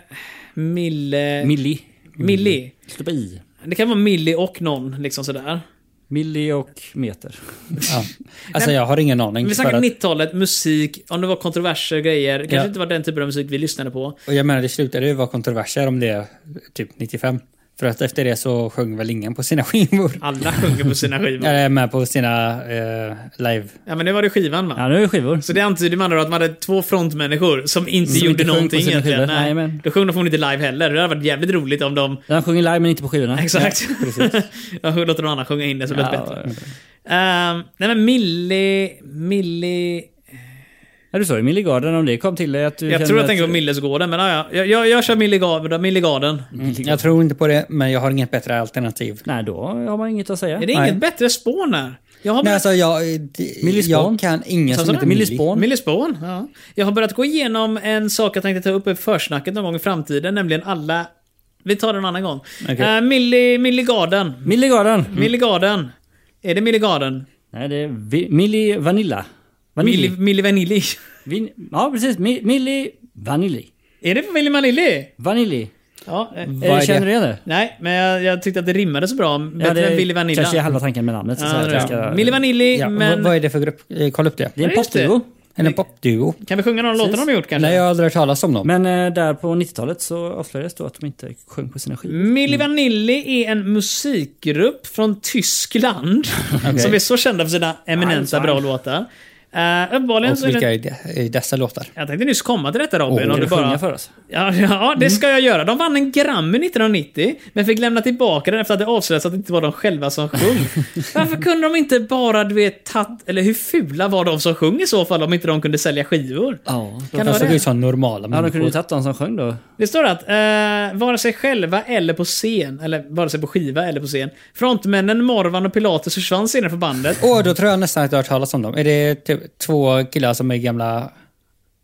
S1: Mille...
S3: Millie.
S1: Milli.
S3: Sluta på i.
S1: Det kan vara Milli och någon, liksom sådär.
S3: Millie och meter.
S2: Ja. Alltså jag har ingen aning.
S1: Vi
S2: för
S1: snackar
S2: att-
S1: 90-talet, musik, om det var kontroverser och grejer. Kanske
S2: Ja.
S1: inte var den typen av musik vi lyssnade på.
S2: Och jag menar det slutade ju vara kontroverser om det typ 95. För att efter det så sjöng väl ingen på sina skivor.
S1: Alla sjunger på sina
S3: *laughs*
S1: skivor.
S2: Eller med på sina eh, live.
S1: Ja, men nu var det skivan va?
S3: Ja, nu är det skivor.
S1: Så det antyder man då att man hade två frontmänniskor som inte
S3: Som
S1: gjorde
S3: inte sjöng på
S1: någonting
S3: sina
S1: egentligen.
S3: skivor.
S1: Nej.
S3: Nej, men-
S1: Då sjöng de förmodligen inte live heller. Det hade varit jävligt roligt om de...
S3: Den sjunger live men inte på skivorna.
S1: *laughs* Exakt. Jag låter någon annan sjunga in det så blir det
S3: Ja,
S1: bättre. Ehm, nej men Millie... Millie...
S3: Ja, du sa ju Millie Garden om det kom till dig att du
S1: Jag tror jag tänker på Millesgården, men ja, ja. Jag, jag, jag kör Millie Garden. Millie Garden.
S2: Jag tror inte på det, men jag har inget bättre alternativ.
S3: Nej, då har man inget att säga.
S1: Är det
S2: Nej.
S1: inget bättre spån här? Jag har
S2: Nej,
S1: börjat...
S2: alltså jag, det-
S3: Millispån.
S2: jag kan ingen
S1: Sa
S2: som
S1: du
S2: heter
S1: det?
S2: Millie.
S3: Millispån.
S1: Millie Spån, ja. Jag har börjat gå igenom en sak jag tänkte ta upp i försnacket någon gång i framtiden, nämligen alla... Vi tar den en annan gång. Okay. Millie, Millie Garden.
S3: Millie Garden.
S1: Millie Garden. Är det Millie Garden?
S3: Nej, det är vi, Milli Vanilla. Vanilli.
S1: Millie, Millie Vanilli? *laughs*
S3: Vin, ja, precis. Mi, Milli Vanilli.
S1: Är det Millie Vanilli?
S3: Vanilli.
S1: Ja, eh,
S2: Vad är
S3: Eh,
S2: det?
S3: känner du igen det?
S1: nej, men jag, jag tyckte att det rimmade så bra. Bättre än Billy Vanilla. Ah,
S3: Kanske är halva tanken med namnet. så att
S1: Ja,
S3: säga,
S1: det
S3: att
S1: är
S3: jag
S1: det.
S3: ska-
S1: Milli Vanilli,
S2: Ja,
S1: men...
S2: vad, vad är det för grupp? Eh, Kolla upp det.
S3: Det är en
S1: Just det.
S3: popduo.
S2: Eller en popduo.
S1: Kan vi sjunga några låtar de har gjort kanske?
S2: Nej, jag har aldrig hört talas om dem.
S3: Men eh, där på 90-talet så avslöjades då att de inte sjöng på sina skivor.
S1: Milli
S2: Mm.
S1: Vanilli är en musikgrupp från
S2: *laughs*
S1: Tyskland som är så kända för sina eminenta bra låtar. Uh, uppenbarligen så
S2: Och
S1: är
S2: vilka
S1: det...
S2: är de- är dessa låtar?
S1: Jag tänkte nyss komma till detta Robin. om
S2: Åh, kan
S1: du
S3: Du bara...
S1: bara...
S3: för oss.
S1: Ja, ja, det ska jag göra. De vann en Grammy 1990, men fick lämna tillbaka den efter att det avslöjades att det inte var de själva som sjöng. Varför kunde de inte bara, du vet, tatt... Eller hur fula var de som sjöng i så fall om inte de kunde sälja skivor?
S3: Ja,
S1: Kan det
S3: de,
S2: De
S1: vara
S2: såg
S1: det?
S2: ut som normala
S3: ja, de kunde ju
S2: människor.
S3: tagit de som sjöng då.
S1: Det står att eh, vare sig själva eller på scen, eller vare sig på skiva eller på scen. Frontmännen Morvan och Pilatus försvann senare från bandet.
S2: Åh, då tror jag nästan att jag har hört talas om dem. Är det typ två killar som är gamla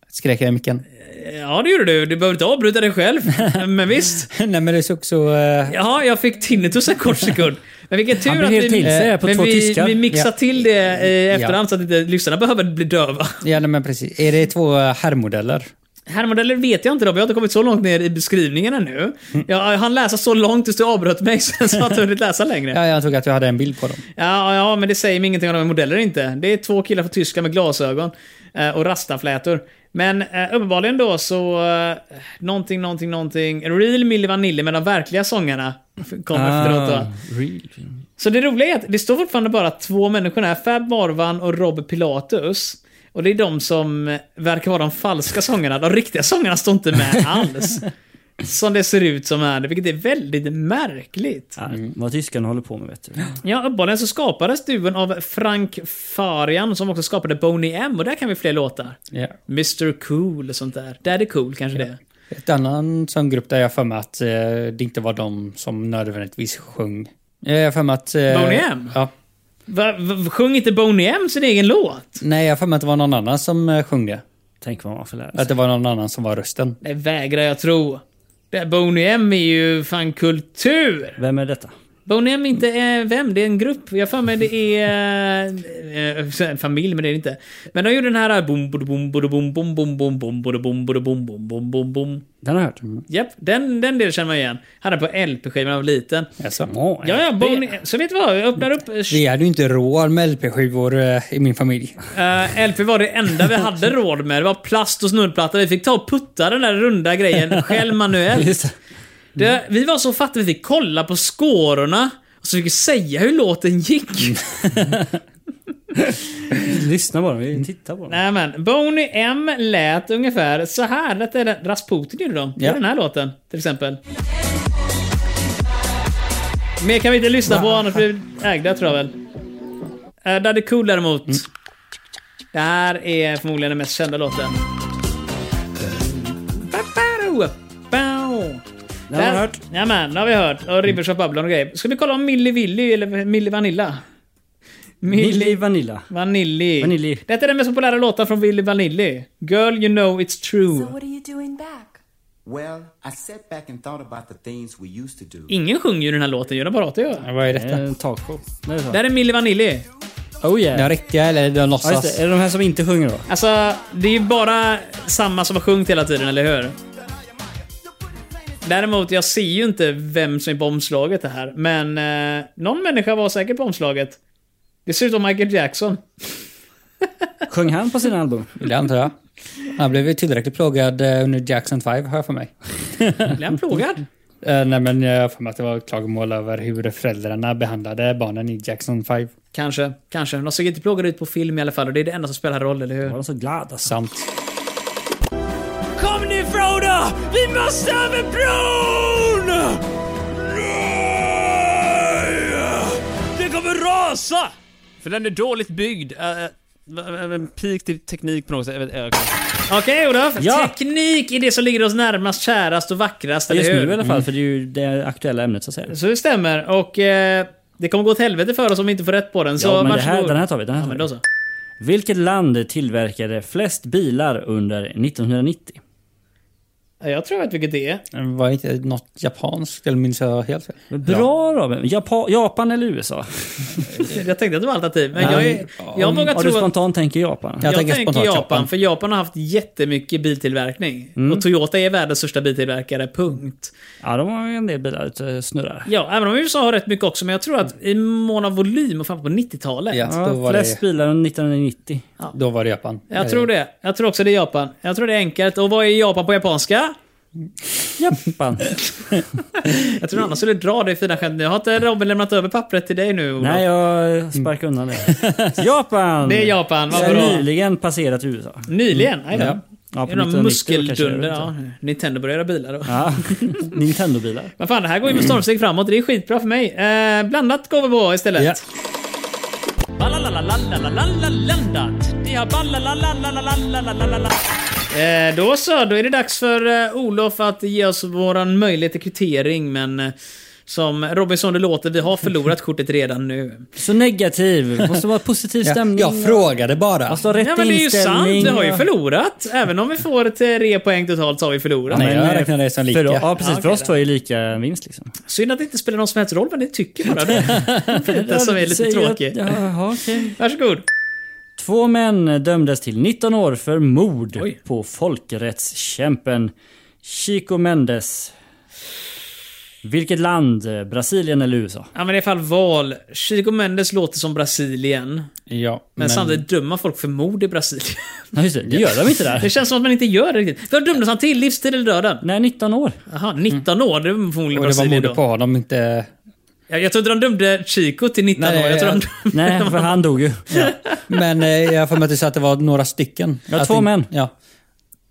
S2: skräkare i micken? *laughs*
S1: Ja, det gjorde du. Du behöver inte avbryta dig själv. Men visst.
S2: Nej, men det såg så... eh,
S1: Ja, jag fick tinnitus en kort sekund. Men vilken tur
S3: Han blev
S1: att
S3: helt till
S1: vi,
S3: sig på
S1: men
S3: två
S1: vi,
S3: tyskar.
S1: vi mixar
S2: Ja.
S1: till det i efterhand så att inte lyssnarna behöver bli döva.
S2: Ja, nej, men precis. Är det två herrmodeller?
S1: Herrmodeller vet jag inte då, för jag har inte kommit så långt ner i beskrivningen ännu.
S3: Mm.
S1: Jag, jag hann läsa så långt tills du avbröt mig, *laughs* sen så jag har inte hunnit läsa längre.
S2: Ja, jag antog att du hade en bild på dem.
S1: Ja, ja, men det säger mig ingenting om de är modeller inte. Det är två killar från Tyskland med glasögon eh, och rastaflätor. Men eh, uppenbarligen då så... Eh, någonting, någonting, någonting. Real Milli Vanilli med de verkliga sångarna kom Ah.
S3: Ah.
S1: efteråt då.
S3: real.
S1: Så det roliga är att det står fortfarande bara två människor här. Fab Marvan och Rob Pilatus. Och det är de som eh, verkar vara de falska sångarna. De riktiga sångarna står inte med alls. Som det ser ut som här, vilket är väldigt märkligt.
S3: Ja, Ah, mm. Vad tyskarna håller på med vet du.
S1: Ja, uppenbarligen så skapades duon av Frank Farian som också skapade Boney M och där kan vi fler låtar.
S2: Ja.
S1: Mr Cool och sånt där. Daddy Cool kanske det är.
S2: Ett annan sån grupp där jag för mig att eh, det inte var de som nödvändigtvis sjöng. Eh, Jag har för mig att... Eh,
S1: Boney M?
S2: Ja.
S1: Va, va, sjung inte Boney M sin egen låt?
S2: Nej, jag har för mig att det var någon annan som eh, sjöng det.
S3: Tänk vad man får lära sig.
S2: Att det var någon annan som var rösten.
S1: Det vägrar jag tro. Det Boney M är ju fan kultur!
S3: Vem är detta?
S1: Boney M är inte eh, vem, det är en grupp. Jag har för mig det är... eh, Eh, en familj, men det är det inte. Men de gjorde den här... eh, Bom, bom, bom, bom, bom, bom, bom, bom, bom, bom, bom, bom, bom, bom, bom.
S3: Den har jag hört.
S2: Mm.
S1: Japp, den, den delen känner man igen. Hade den på LP-skivan när jag var liten.
S2: Alltså.
S1: Ja, ja, Boney, så vet du vad? Jag öppnar upp... eh,
S2: Vi hade ju inte råd med LP-skivor eh, i min familj.
S1: eh, LP var det enda vi hade råd med. Det var plast och snurrplatta. Vi fick ta och putta den där runda grejen själv manuellt. Det, vi var så fattiga, vi fick kolla på skårorna. Och så fick vi säga hur låten gick.
S3: Lyssna på dem, vi tittar på dem.
S1: Nej men, Boney M lät ungefär så här. Detta är den, Rasputin gjorde de.
S2: Ja.
S1: Den här låten, till exempel. Mer kan vi inte lyssna på, annars blir vi ägda tror jag väl. Uh, Daddy Cool däremot.
S3: Mm.
S1: Det här är förmodligen den mest kända låten. Ba-ba-do, bao.
S3: Den har
S1: Där-
S3: jag hört.
S1: Jajamän, det har vi hört. Och Ribbentrop Babylon och grejer. Ska vi kolla om Milli Villi eller Milli Vanilla?
S3: Milli Vanilla.
S1: Vanilli.
S3: Vanilli.
S1: Detta är den mest populära låten från Willy Vanilli. Girl you know it's true.
S8: What are you doing back?
S9: Well, I sat back and thought about the things we used to do.
S1: Ingen sjunger ju den här låten, gör de bara åt det ju.
S2: Ja, Vad är
S1: Eh,
S2: detta?
S3: En talkshow. Det är så.
S1: Det här är Milli Vanilli.
S3: Oh yeah.
S2: Den riktiga eller den
S3: Ja, just
S2: låtsas?
S3: det. Är det de här som inte sjunger då?
S1: Alltså, det är ju bara samma som har sjungit hela tiden, eller hur? Däremot, jag ser ju inte vem som är på omslaget det här, men eh, någon människa var säkert på omslaget. Det ser ut som Michael Jackson.
S3: Sjöng han på sina album?
S2: Det antar jag. Han blev ju tillräckligt plågad eh, under Jackson 5, har jag för mig.
S1: Blir han plågad?
S2: Eh, nej, men jag har för mig att det var klagomål över hur föräldrarna behandlade barnen i Jackson 5.
S1: *laughs* Kanske, kanske. De såg inte plågade ut på film i alla fall och det är det enda som spelar roll, eller hur?
S3: Var de så glada? Så.
S2: Sant.
S7: Kom nu Frodo! Vi måste över bron!
S1: Den kommer rasa! För den är dåligt byggd. Pik till teknik på något sätt. Okej Olof,
S3: Ja.
S1: teknik är det som ligger oss närmast, kärast och vackrast, eller
S3: Just nu i
S1: hur?
S3: alla fall, för det är ju det aktuella ämnet så att säga.
S1: Så det stämmer. Och eh, det kommer gå åt helvete för oss om vi inte får rätt på den. Så
S3: Ja, men det
S1: varsågod.
S3: här, den här tar vi. Den här
S1: Ja,
S3: tar
S1: men
S3: vi.
S1: då så.
S3: Vilket land tillverkade flest bilar under 1990?
S1: Jag tror att vilket det är.
S2: Det var inte något japanskt, eller minns jag helt fel?
S3: Men Bra Robin! Japa- Japan eller USA?
S1: Jag tänkte att det var alternativ, men jag, är, jag vågar
S3: Om du
S1: tro att...
S3: spontant tänker Japan?
S2: Ja.
S1: Jag,
S2: Jag tänker
S1: tänker
S2: spontant
S1: Japan,
S2: Japan.
S1: för Japan har haft jättemycket biltillverkning. Och Toyota är världens största biltillverkare, punkt.
S3: Ja, de har ju en del bilar ute och snurrar.
S1: Ja, även om USA har rätt mycket också, men jag tror att i mån av volym och fram på 90-talet.
S2: Ja.
S3: Ja,
S2: Då var
S3: flest
S2: det-
S3: bilar under 1990.
S2: Då var det Japan.
S1: Jag tror det. Jag tror också det är Japan. Jag tror det är enkelt. Och vad är Japan på japanska?
S3: Japan!
S1: *laughs* Jag tror annars skulle dra det fina skämt nu. Har inte Robin lämnat över pappret till dig nu? Olof?
S3: Nej, jag sparkar undan det. Japan!
S1: Mm. Det är Japan, vad
S3: Jag har
S1: bra.
S3: nyligen passerat USA.
S1: Nyligen? Aj då.
S2: Ja.
S3: Mm. Ja,
S1: Det är någon
S3: 1990 kanske, jag vet
S1: muskeldunder.
S3: inte.
S1: Ja, Nintendo börjar göra bilar då. *laughs*
S3: Ja, Nintendo-bilar.
S1: Men fan, det här går ju med stormsteg framåt. Det är skitbra för mig. Eh, blandat går vi på istället.
S2: Ja.
S1: Eh, då så, då är det dags för eh, Olof att ge oss våran möjlighet till kvittering, men eh, som Robinson det låter, vi har förlorat kortet redan nu.
S3: Så negativ. Måste vara positiv
S2: *laughs* Ja,
S3: stämning.
S2: jag frågade bara.
S3: Måste ha rätt
S1: Ja men det är ju sant,
S3: inställning.
S1: vi har ju förlorat. Även om vi får ett eh, re poäng totalt så har vi förlorat.
S2: Nej, jag
S3: eh,
S2: räknar det som lika.
S3: För, ja, precis.
S1: Ja, okej,
S3: för oss
S1: där.
S3: två är ju lika vinst liksom.
S1: Synd att det inte spelar någon som helst roll vad ni tycker bara. Det som är lite
S3: Säg
S1: tråkigt.
S3: att- Jaha, okej.
S1: Varsågod.
S3: Två män dömdes till 19 år för mord
S1: Oj.
S3: på folkrättskämpen Chico Mendes. Vilket land? Brasilien eller USA?
S1: Ja men i alla fall val. Chico Mendes låter som Brasilien. Men,
S2: Ja,
S1: samtidigt dömer folk för mord i Brasilien.
S3: Ja, just det. Det gör de inte
S1: Det *laughs*
S3: där.
S1: känns som att man inte gör det riktigt. Vad dömdes han till? Livstid eller döden?
S3: Nej, 19 år.
S1: Jaha, 19 år. Det var förmodligen
S2: Mm. Och det var
S1: Brasilien
S2: mordet
S1: då.
S2: på honom, inte...
S1: Jag, jag tror inte de dömde Chico till 19
S2: Nej,
S1: år. Jag tror de
S2: jag-
S1: dömde... *laughs*
S3: Nej, för han dog ju.
S2: Men eh, jag har för mig att du sa att det var några stycken.
S3: Ja,
S2: Att
S3: två
S2: det-
S3: män.
S2: Ja.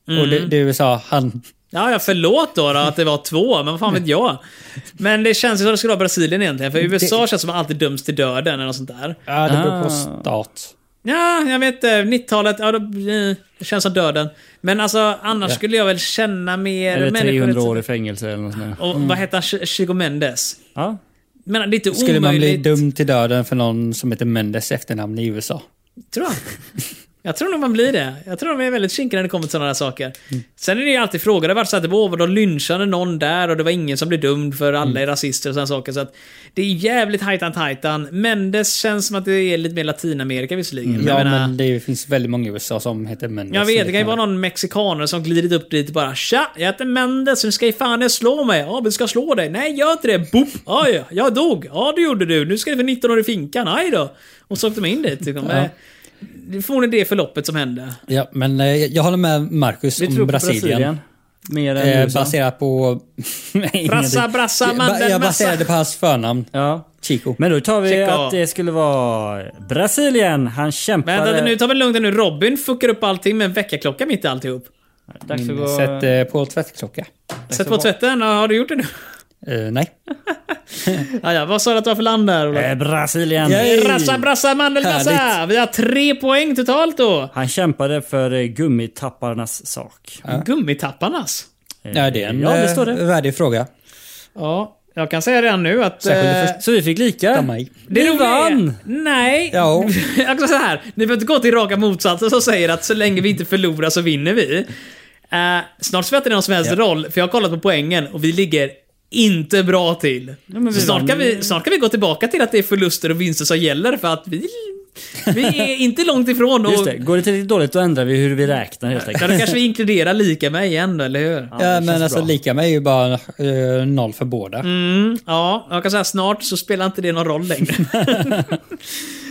S2: Och
S1: Mm.
S2: det, det sa han.
S1: Ja, ja, förlåt då, då att det var två, men vad fan vet jag? Men det känns ju som att det skulle vara Brasilien egentligen, för USA känns som att man alltid döms till döden eller något sånt där.
S2: Ja, det beror
S3: Ah.
S2: på stat.
S1: Ja, jag vet inte. 90-talet, ja, då, eh, det känns som döden. Men alltså, annars skulle jag väl känna mer
S3: Eller
S1: människor-
S3: 300 år i fängelse eller något sånt där.
S1: Och
S2: Mm.
S1: vad heter han? Ch- Chico Mendes?
S3: Ja.
S1: Men det är inte
S2: Skulle man bli
S1: omöjligt.
S2: dömd till döden för någon som heter Mendes efternamn i USA?
S1: Tror jag. Jag tror nog man blir det. Jag tror de är väldigt kinkiga när det kommer till sådana här saker.
S2: Mm.
S1: Sen är det ju alltid frågor. Det har varit så att det var, de lynchade någon där och det var ingen som blev dömd för
S2: Mm.
S1: alla är rasister och sådana saker. Så att det är jävligt hajtan tajtan. Mendes känns som att det är lite mer Latinamerika visserligen. Men
S2: Mm. Ja,
S1: jag menar-
S2: men det finns väldigt många i USA som heter Mendes.
S1: Jag vet, Alltså, det kan ju vara någon mexikaner som glidit upp dit och bara Tja, jag heter Mendes, nu ska ju fan jag slå mig. Ja, men ska jag slå dig? Nej, gör inte det. Boop! Oj, jag dog. Ja, det gjorde du. Nu ska du för 19 år i finkan. Aj då. Och så åkte de in dit. Liksom. Men Det är förmodligen det förloppet som hände.
S2: Ja, men eh, jag jag håller med Marcus
S3: Vi tror
S2: om
S3: på Brasilien.
S2: Brasilien.
S3: Mer än
S2: Eh,
S3: USA.
S2: baserat på... *laughs* Ingenting.
S1: Brassa, brassa,
S2: Jag ba-
S1: mandelmassa.
S2: Jag baserade på hans förnamn.
S3: Ja.
S2: Chico.
S3: Men då tar vi
S1: Chico.
S3: att det skulle vara Brasilien. Han kämpade...
S1: Vänta nu, ta det lugnt nu. Robin fuckar upp allting med en väckarklocka mitt i alltihop.
S3: Dags att gå...
S2: Sätt eh, på tvättklocka.
S1: Sätt på tvätten. Ja, Har du gjort det nu?
S2: Eh, nej.
S1: Ja, ja, vad sa du att det var för land där? Olof?
S3: Eh, Brasilien.
S2: Yay.
S1: Brassa, brassa, mandelmassa!
S2: Härligt.
S1: Vi har tre poäng totalt då.
S3: Han kämpade för eh, gummitapparnas sak.
S1: Gummitapparnas.
S3: Eh,
S2: Ja, det är en
S3: ja, det står
S2: eh,
S3: det.
S2: värdig fråga.
S1: Ja, jag kan säga redan nu att...
S2: Särskilt
S1: eh,
S2: det
S3: Så vi fick
S2: Ta
S3: lika.
S2: mig.
S1: det
S3: Ni
S1: roliga är-
S3: vann!
S1: Nej.
S2: Ja.
S1: *laughs* jag kan säga så här. Ni behöver inte gå till raka motsatsen som säger att så länge vi inte förlorar så vinner vi. Eh, snart spelar det någon som helst roll, för jag har kollat på poängen och vi ligger inte bra till. så snart kan, vi, snart kan vi gå tillbaka till att det är förluster och vinster som gäller för att vi, vi är inte långt ifrån. Och,
S3: Just det. Går det tillräckligt dåligt då ändrar vi hur vi räknar helt
S1: Ja,
S3: enkelt.
S1: då kanske vi inkluderar lika med igen, eller hur?
S3: det
S2: Ja,
S3: känns
S2: men alltså
S3: bra.
S2: lika med är ju bara eh, noll för båda.
S1: Mm. Ja, jag kan säga snart så spelar inte det någon roll längre.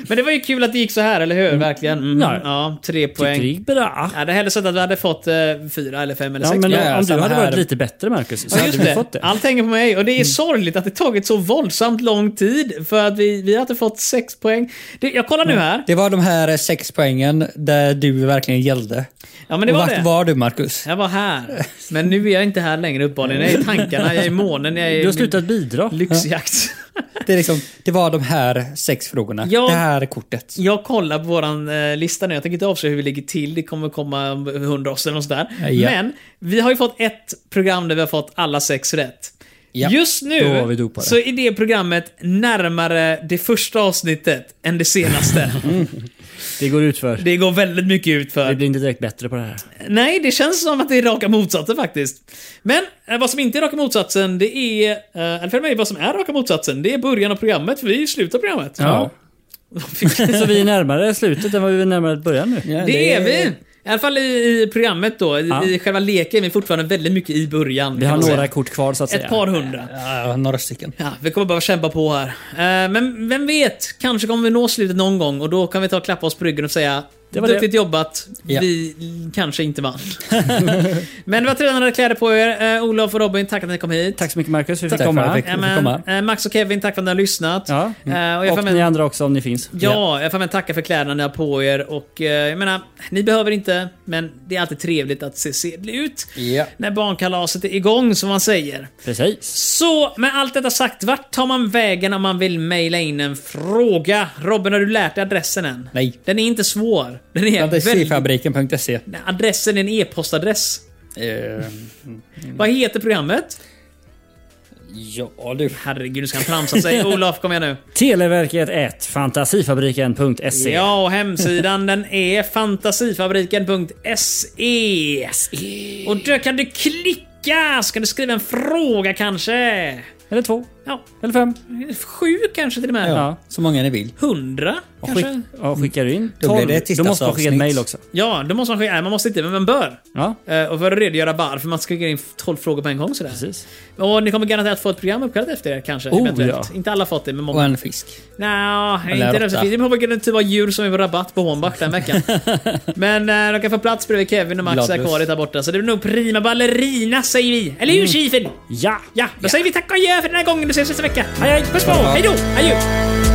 S1: Men det var ju kul att det gick så här, eller hur? Verkligen. Mm.
S3: Ja.
S1: Ja, tre
S3: Tyckte det
S1: poäng.
S3: gick bra.
S1: Jag hade hellre sett att vi hade fått eh, fyra eller fem eller
S3: Ja,
S1: sex.
S3: men
S1: poäng.
S2: ja,
S3: om du
S2: samma
S3: hade
S2: här.
S3: varit lite bättre Marcus så
S1: Ja,
S3: hade
S1: just
S3: vi
S1: det.
S3: fått det. Mm.
S1: Allt hänger på mig och det är sorgligt att det tagit så våldsamt lång tid för att vi, vi har inte fått sex poäng. Det, jag kollar nu här.
S2: Det var de här eh, sex poängen där du verkligen gällde.
S1: Ja, men det var
S2: Vart
S1: det.
S2: var du Marcus?
S1: Jag var här. Men nu är jag inte här längre uppenbarligen. Jag är i tankarna, jag är i månen, jag är i
S3: Du har
S1: min
S3: slutat bidra.
S1: lyxjakt.
S2: Det, är liksom, det var de här sex frågorna.
S1: Ja.
S2: Det här kortet.
S1: Jag kollar på våran eh, lista nu. Jag tänker inte avslöja hur vi ligger till. Det kommer komma om 100 oss eller något sådär.
S2: Ja.
S1: Men vi har ju fått ett program där vi har fått alla sex rätt.
S2: Ja.
S1: Just
S3: Då var vi
S1: nu
S3: dopade. *laughs*
S1: så är det programmet närmare det första avsnittet än det senaste.
S3: Det går ut för.
S1: Det går väldigt mycket ut för.
S3: Vi blir inte direkt bättre på det här.
S1: Nej, det känns som att det är raka motsatsen faktiskt. Men eh, vad som inte är raka motsatsen, det är... eh, Eller för mig, vad som är raka motsatsen, det är början av programmet, för vi är i slutet av programmet.
S3: Ja. *laughs* Så vi är närmare slutet än vad vi är närmare början nu.
S2: Ja,
S1: Det är vi! I alla fall i, i programmet då. I,
S3: Ja.
S1: I själva leken är vi fortfarande väldigt mycket i början.
S3: Vi
S1: kan
S3: har
S1: man säga.
S3: några kort kvar så att säga.
S1: Ett par hundra.
S2: Ja, några stycken.
S1: Ja, vi kommer behöva kämpa på här. Eh, Men vem vet, kanske kommer vi nå slutet någon gång och då kan vi ta och klappa oss på ryggen och säga det
S3: Det
S1: var
S3: var det."
S1: duktigt jobbat,
S2: Ja.
S1: vi kanske inte vann. *laughs* Men det var tränade kläder på er. Eh, Olof och Robin, tack att ni kom hit.
S3: Tack så mycket Marcus för att vi
S2: Tack
S3: fick
S2: för att
S3: komma.
S2: vi fick-
S1: Jajamän.
S2: komma.
S1: Eh, Max och Kevin, tack för att ni har lyssnat.
S3: Ja.
S1: Eh, och jag
S3: Och,
S1: får
S3: ni
S1: med,
S3: andra också om ni finns.
S1: ja, jag får med tacka för kläderna ni har på er. Och, eh, jag menar, ni behöver inte, men det är alltid trevligt att se sedlig ut.
S2: Ja.
S1: När barnkalaset är igång, som man säger.
S3: Precis.
S1: Så med allt detta sagt, vart tar man vägen om man vill mejla in en fråga? Robin, har du lärt dig adressen än?
S2: Nej.
S1: Den är inte svår. Den är väldigt...
S2: Fantasifabriken.se.
S1: Nej, Adressen är en e-postadress.
S2: Eh,
S1: Vad heter programmet?
S2: ja du.
S1: Herregud, nu ska han flamsa
S2: *laughs*
S1: sig. Olof, kom igen nu.
S3: Televerket 1 fantasifabriken.se.
S1: Ja, och hemsidan den är fantasifabriken.se. E.
S2: E.
S1: Och där kan du klicka! Ska du skriva en fråga kanske?
S3: Eller två.
S1: Ja,
S3: Eller fem.
S1: sju kanske till och med.
S2: Ja, så många ni vill.
S1: Hundra
S3: Skick,
S1: kanske?
S3: ja, skickar du in
S2: Då blir det ett
S3: då måste man skicka
S2: tisdagsavsnitt.
S3: ett mejl också.
S1: Ja, då måste man skicka. Nej, man måste inte, men man bör.
S3: Ja,
S1: Eh, Och för att redogöra varför man skickar in 12 frågor på en gång sådär.
S3: precis.
S1: Och ni kommer garanterat få ett program uppkallat efter er kanske.
S3: Oh,
S1: eventuellt.
S3: ja.
S1: Inte alla har fått det, men
S2: Och
S1: många.
S2: en fisk.
S1: Nja,
S2: Eller
S1: inte det.
S2: råtta.
S1: Det finns någon typ av djur som är på rabatt på Hornbach den
S3: *laughs*
S1: veckan. men eh, de kan få plats bredvid Kevin och Max
S2: Gladlust.
S1: akvariet där borta. Så det blir nog prima ballerina säger vi. Eller hur Kifen?
S3: Mm. Ja!
S1: Ja, då säger vi tack och adjö för den här gången. Vi ses nästa vecka. Hej, hej! Puss på! Hej då! Adjö!